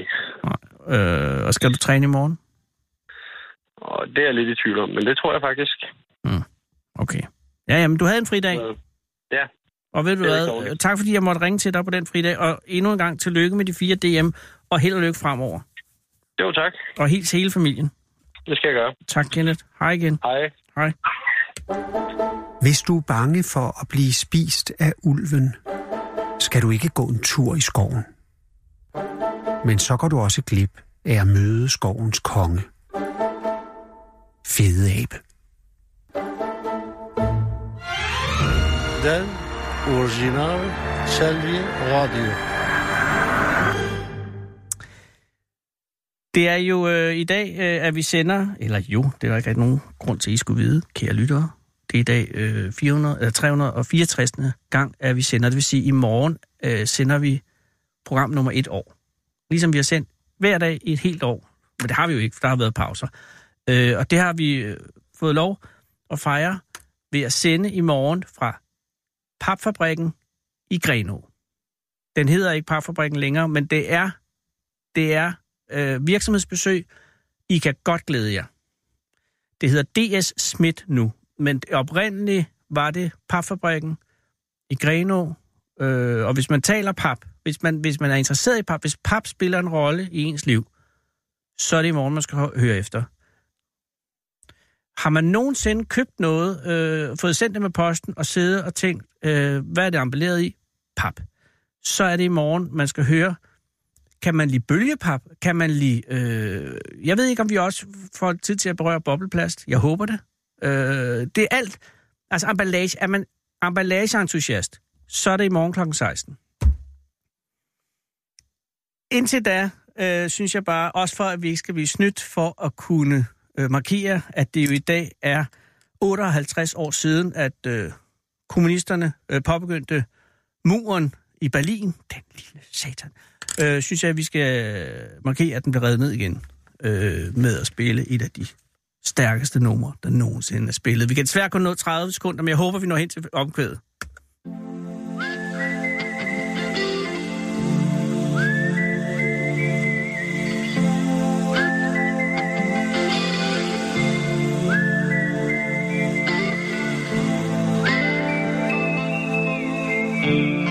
Øh, og skal du træne i morgen? Og det er jeg lidt i tvivl om, men det tror jeg faktisk. Okay. Ja, jamen, du havde en fri dag. Så, Og ved du Det er ikke hvad, dårligt. tak fordi jeg måtte ringe til dig på den fridag, og endnu en gang tillykke med de fire DM, og held og lykke fremover. jo tak. Og helt til hele familien. Det skal jeg gøre. Tak, Kenneth. Hej igen. Hej. Hej. Hvis du er bange for at blive spist af ulven, skal du ikke gå en tur i skoven. Men så går du også glip af at møde skovens konge. Fede abe. Den originale Salvi Radio. Det er jo øh, i dag, øh, at vi sender, eller jo, det er der ikke rigtig nogen grund til, at I skulle vide, kære lyttere. Det er i dag øh, 400, eller 364. gang, at vi sender. Det vil sige, at i morgen øh, sender vi program nummer et år. Ligesom vi har sendt hver dag i et helt år. Men det har vi jo ikke, for der har været pauser. Øh, og det har vi øh, fået lov at fejre ved at sende i morgen fra papfabrikken i Grenå. Den hedder ikke papfabrikken længere, men det er, det er øh, virksomhedsbesøg. I kan godt glæde jer. Det hedder DS Smith nu, men oprindeligt var det papfabrikken i Grenå. Øh, og hvis man taler pap, hvis man, hvis man er interesseret i pap, hvis pap spiller en rolle i ens liv, så er det i morgen, man skal hø- høre efter. Har man nogensinde købt noget, øh, fået sendt det med posten og siddet og tænkt, øh, hvad er det ambuleret i? Pap. Så er det i morgen, man skal høre, kan man lide bølgepap? Kan man lide... Øh, jeg ved ikke, om vi også får tid til at berøre bobleplast. Jeg håber det. Øh, det er alt. Altså emballage. Er man emballageentusiast, så er det i morgen kl. 16. Indtil da, øh, synes jeg bare, også for at vi ikke skal blive snydt for at kunne øh, markere, at det jo i dag er 58 år siden, at øh, kommunisterne øh, påbegyndte muren i Berlin. Den lille satan øh, synes jeg, at vi skal markere, at den blev reddet ned igen øh, med at spille et af de stærkeste numre, der nogensinde er spillet. Vi kan desværre kun nå 30 sekunder, men jeg håber, vi når hen til omkvædet. Mm.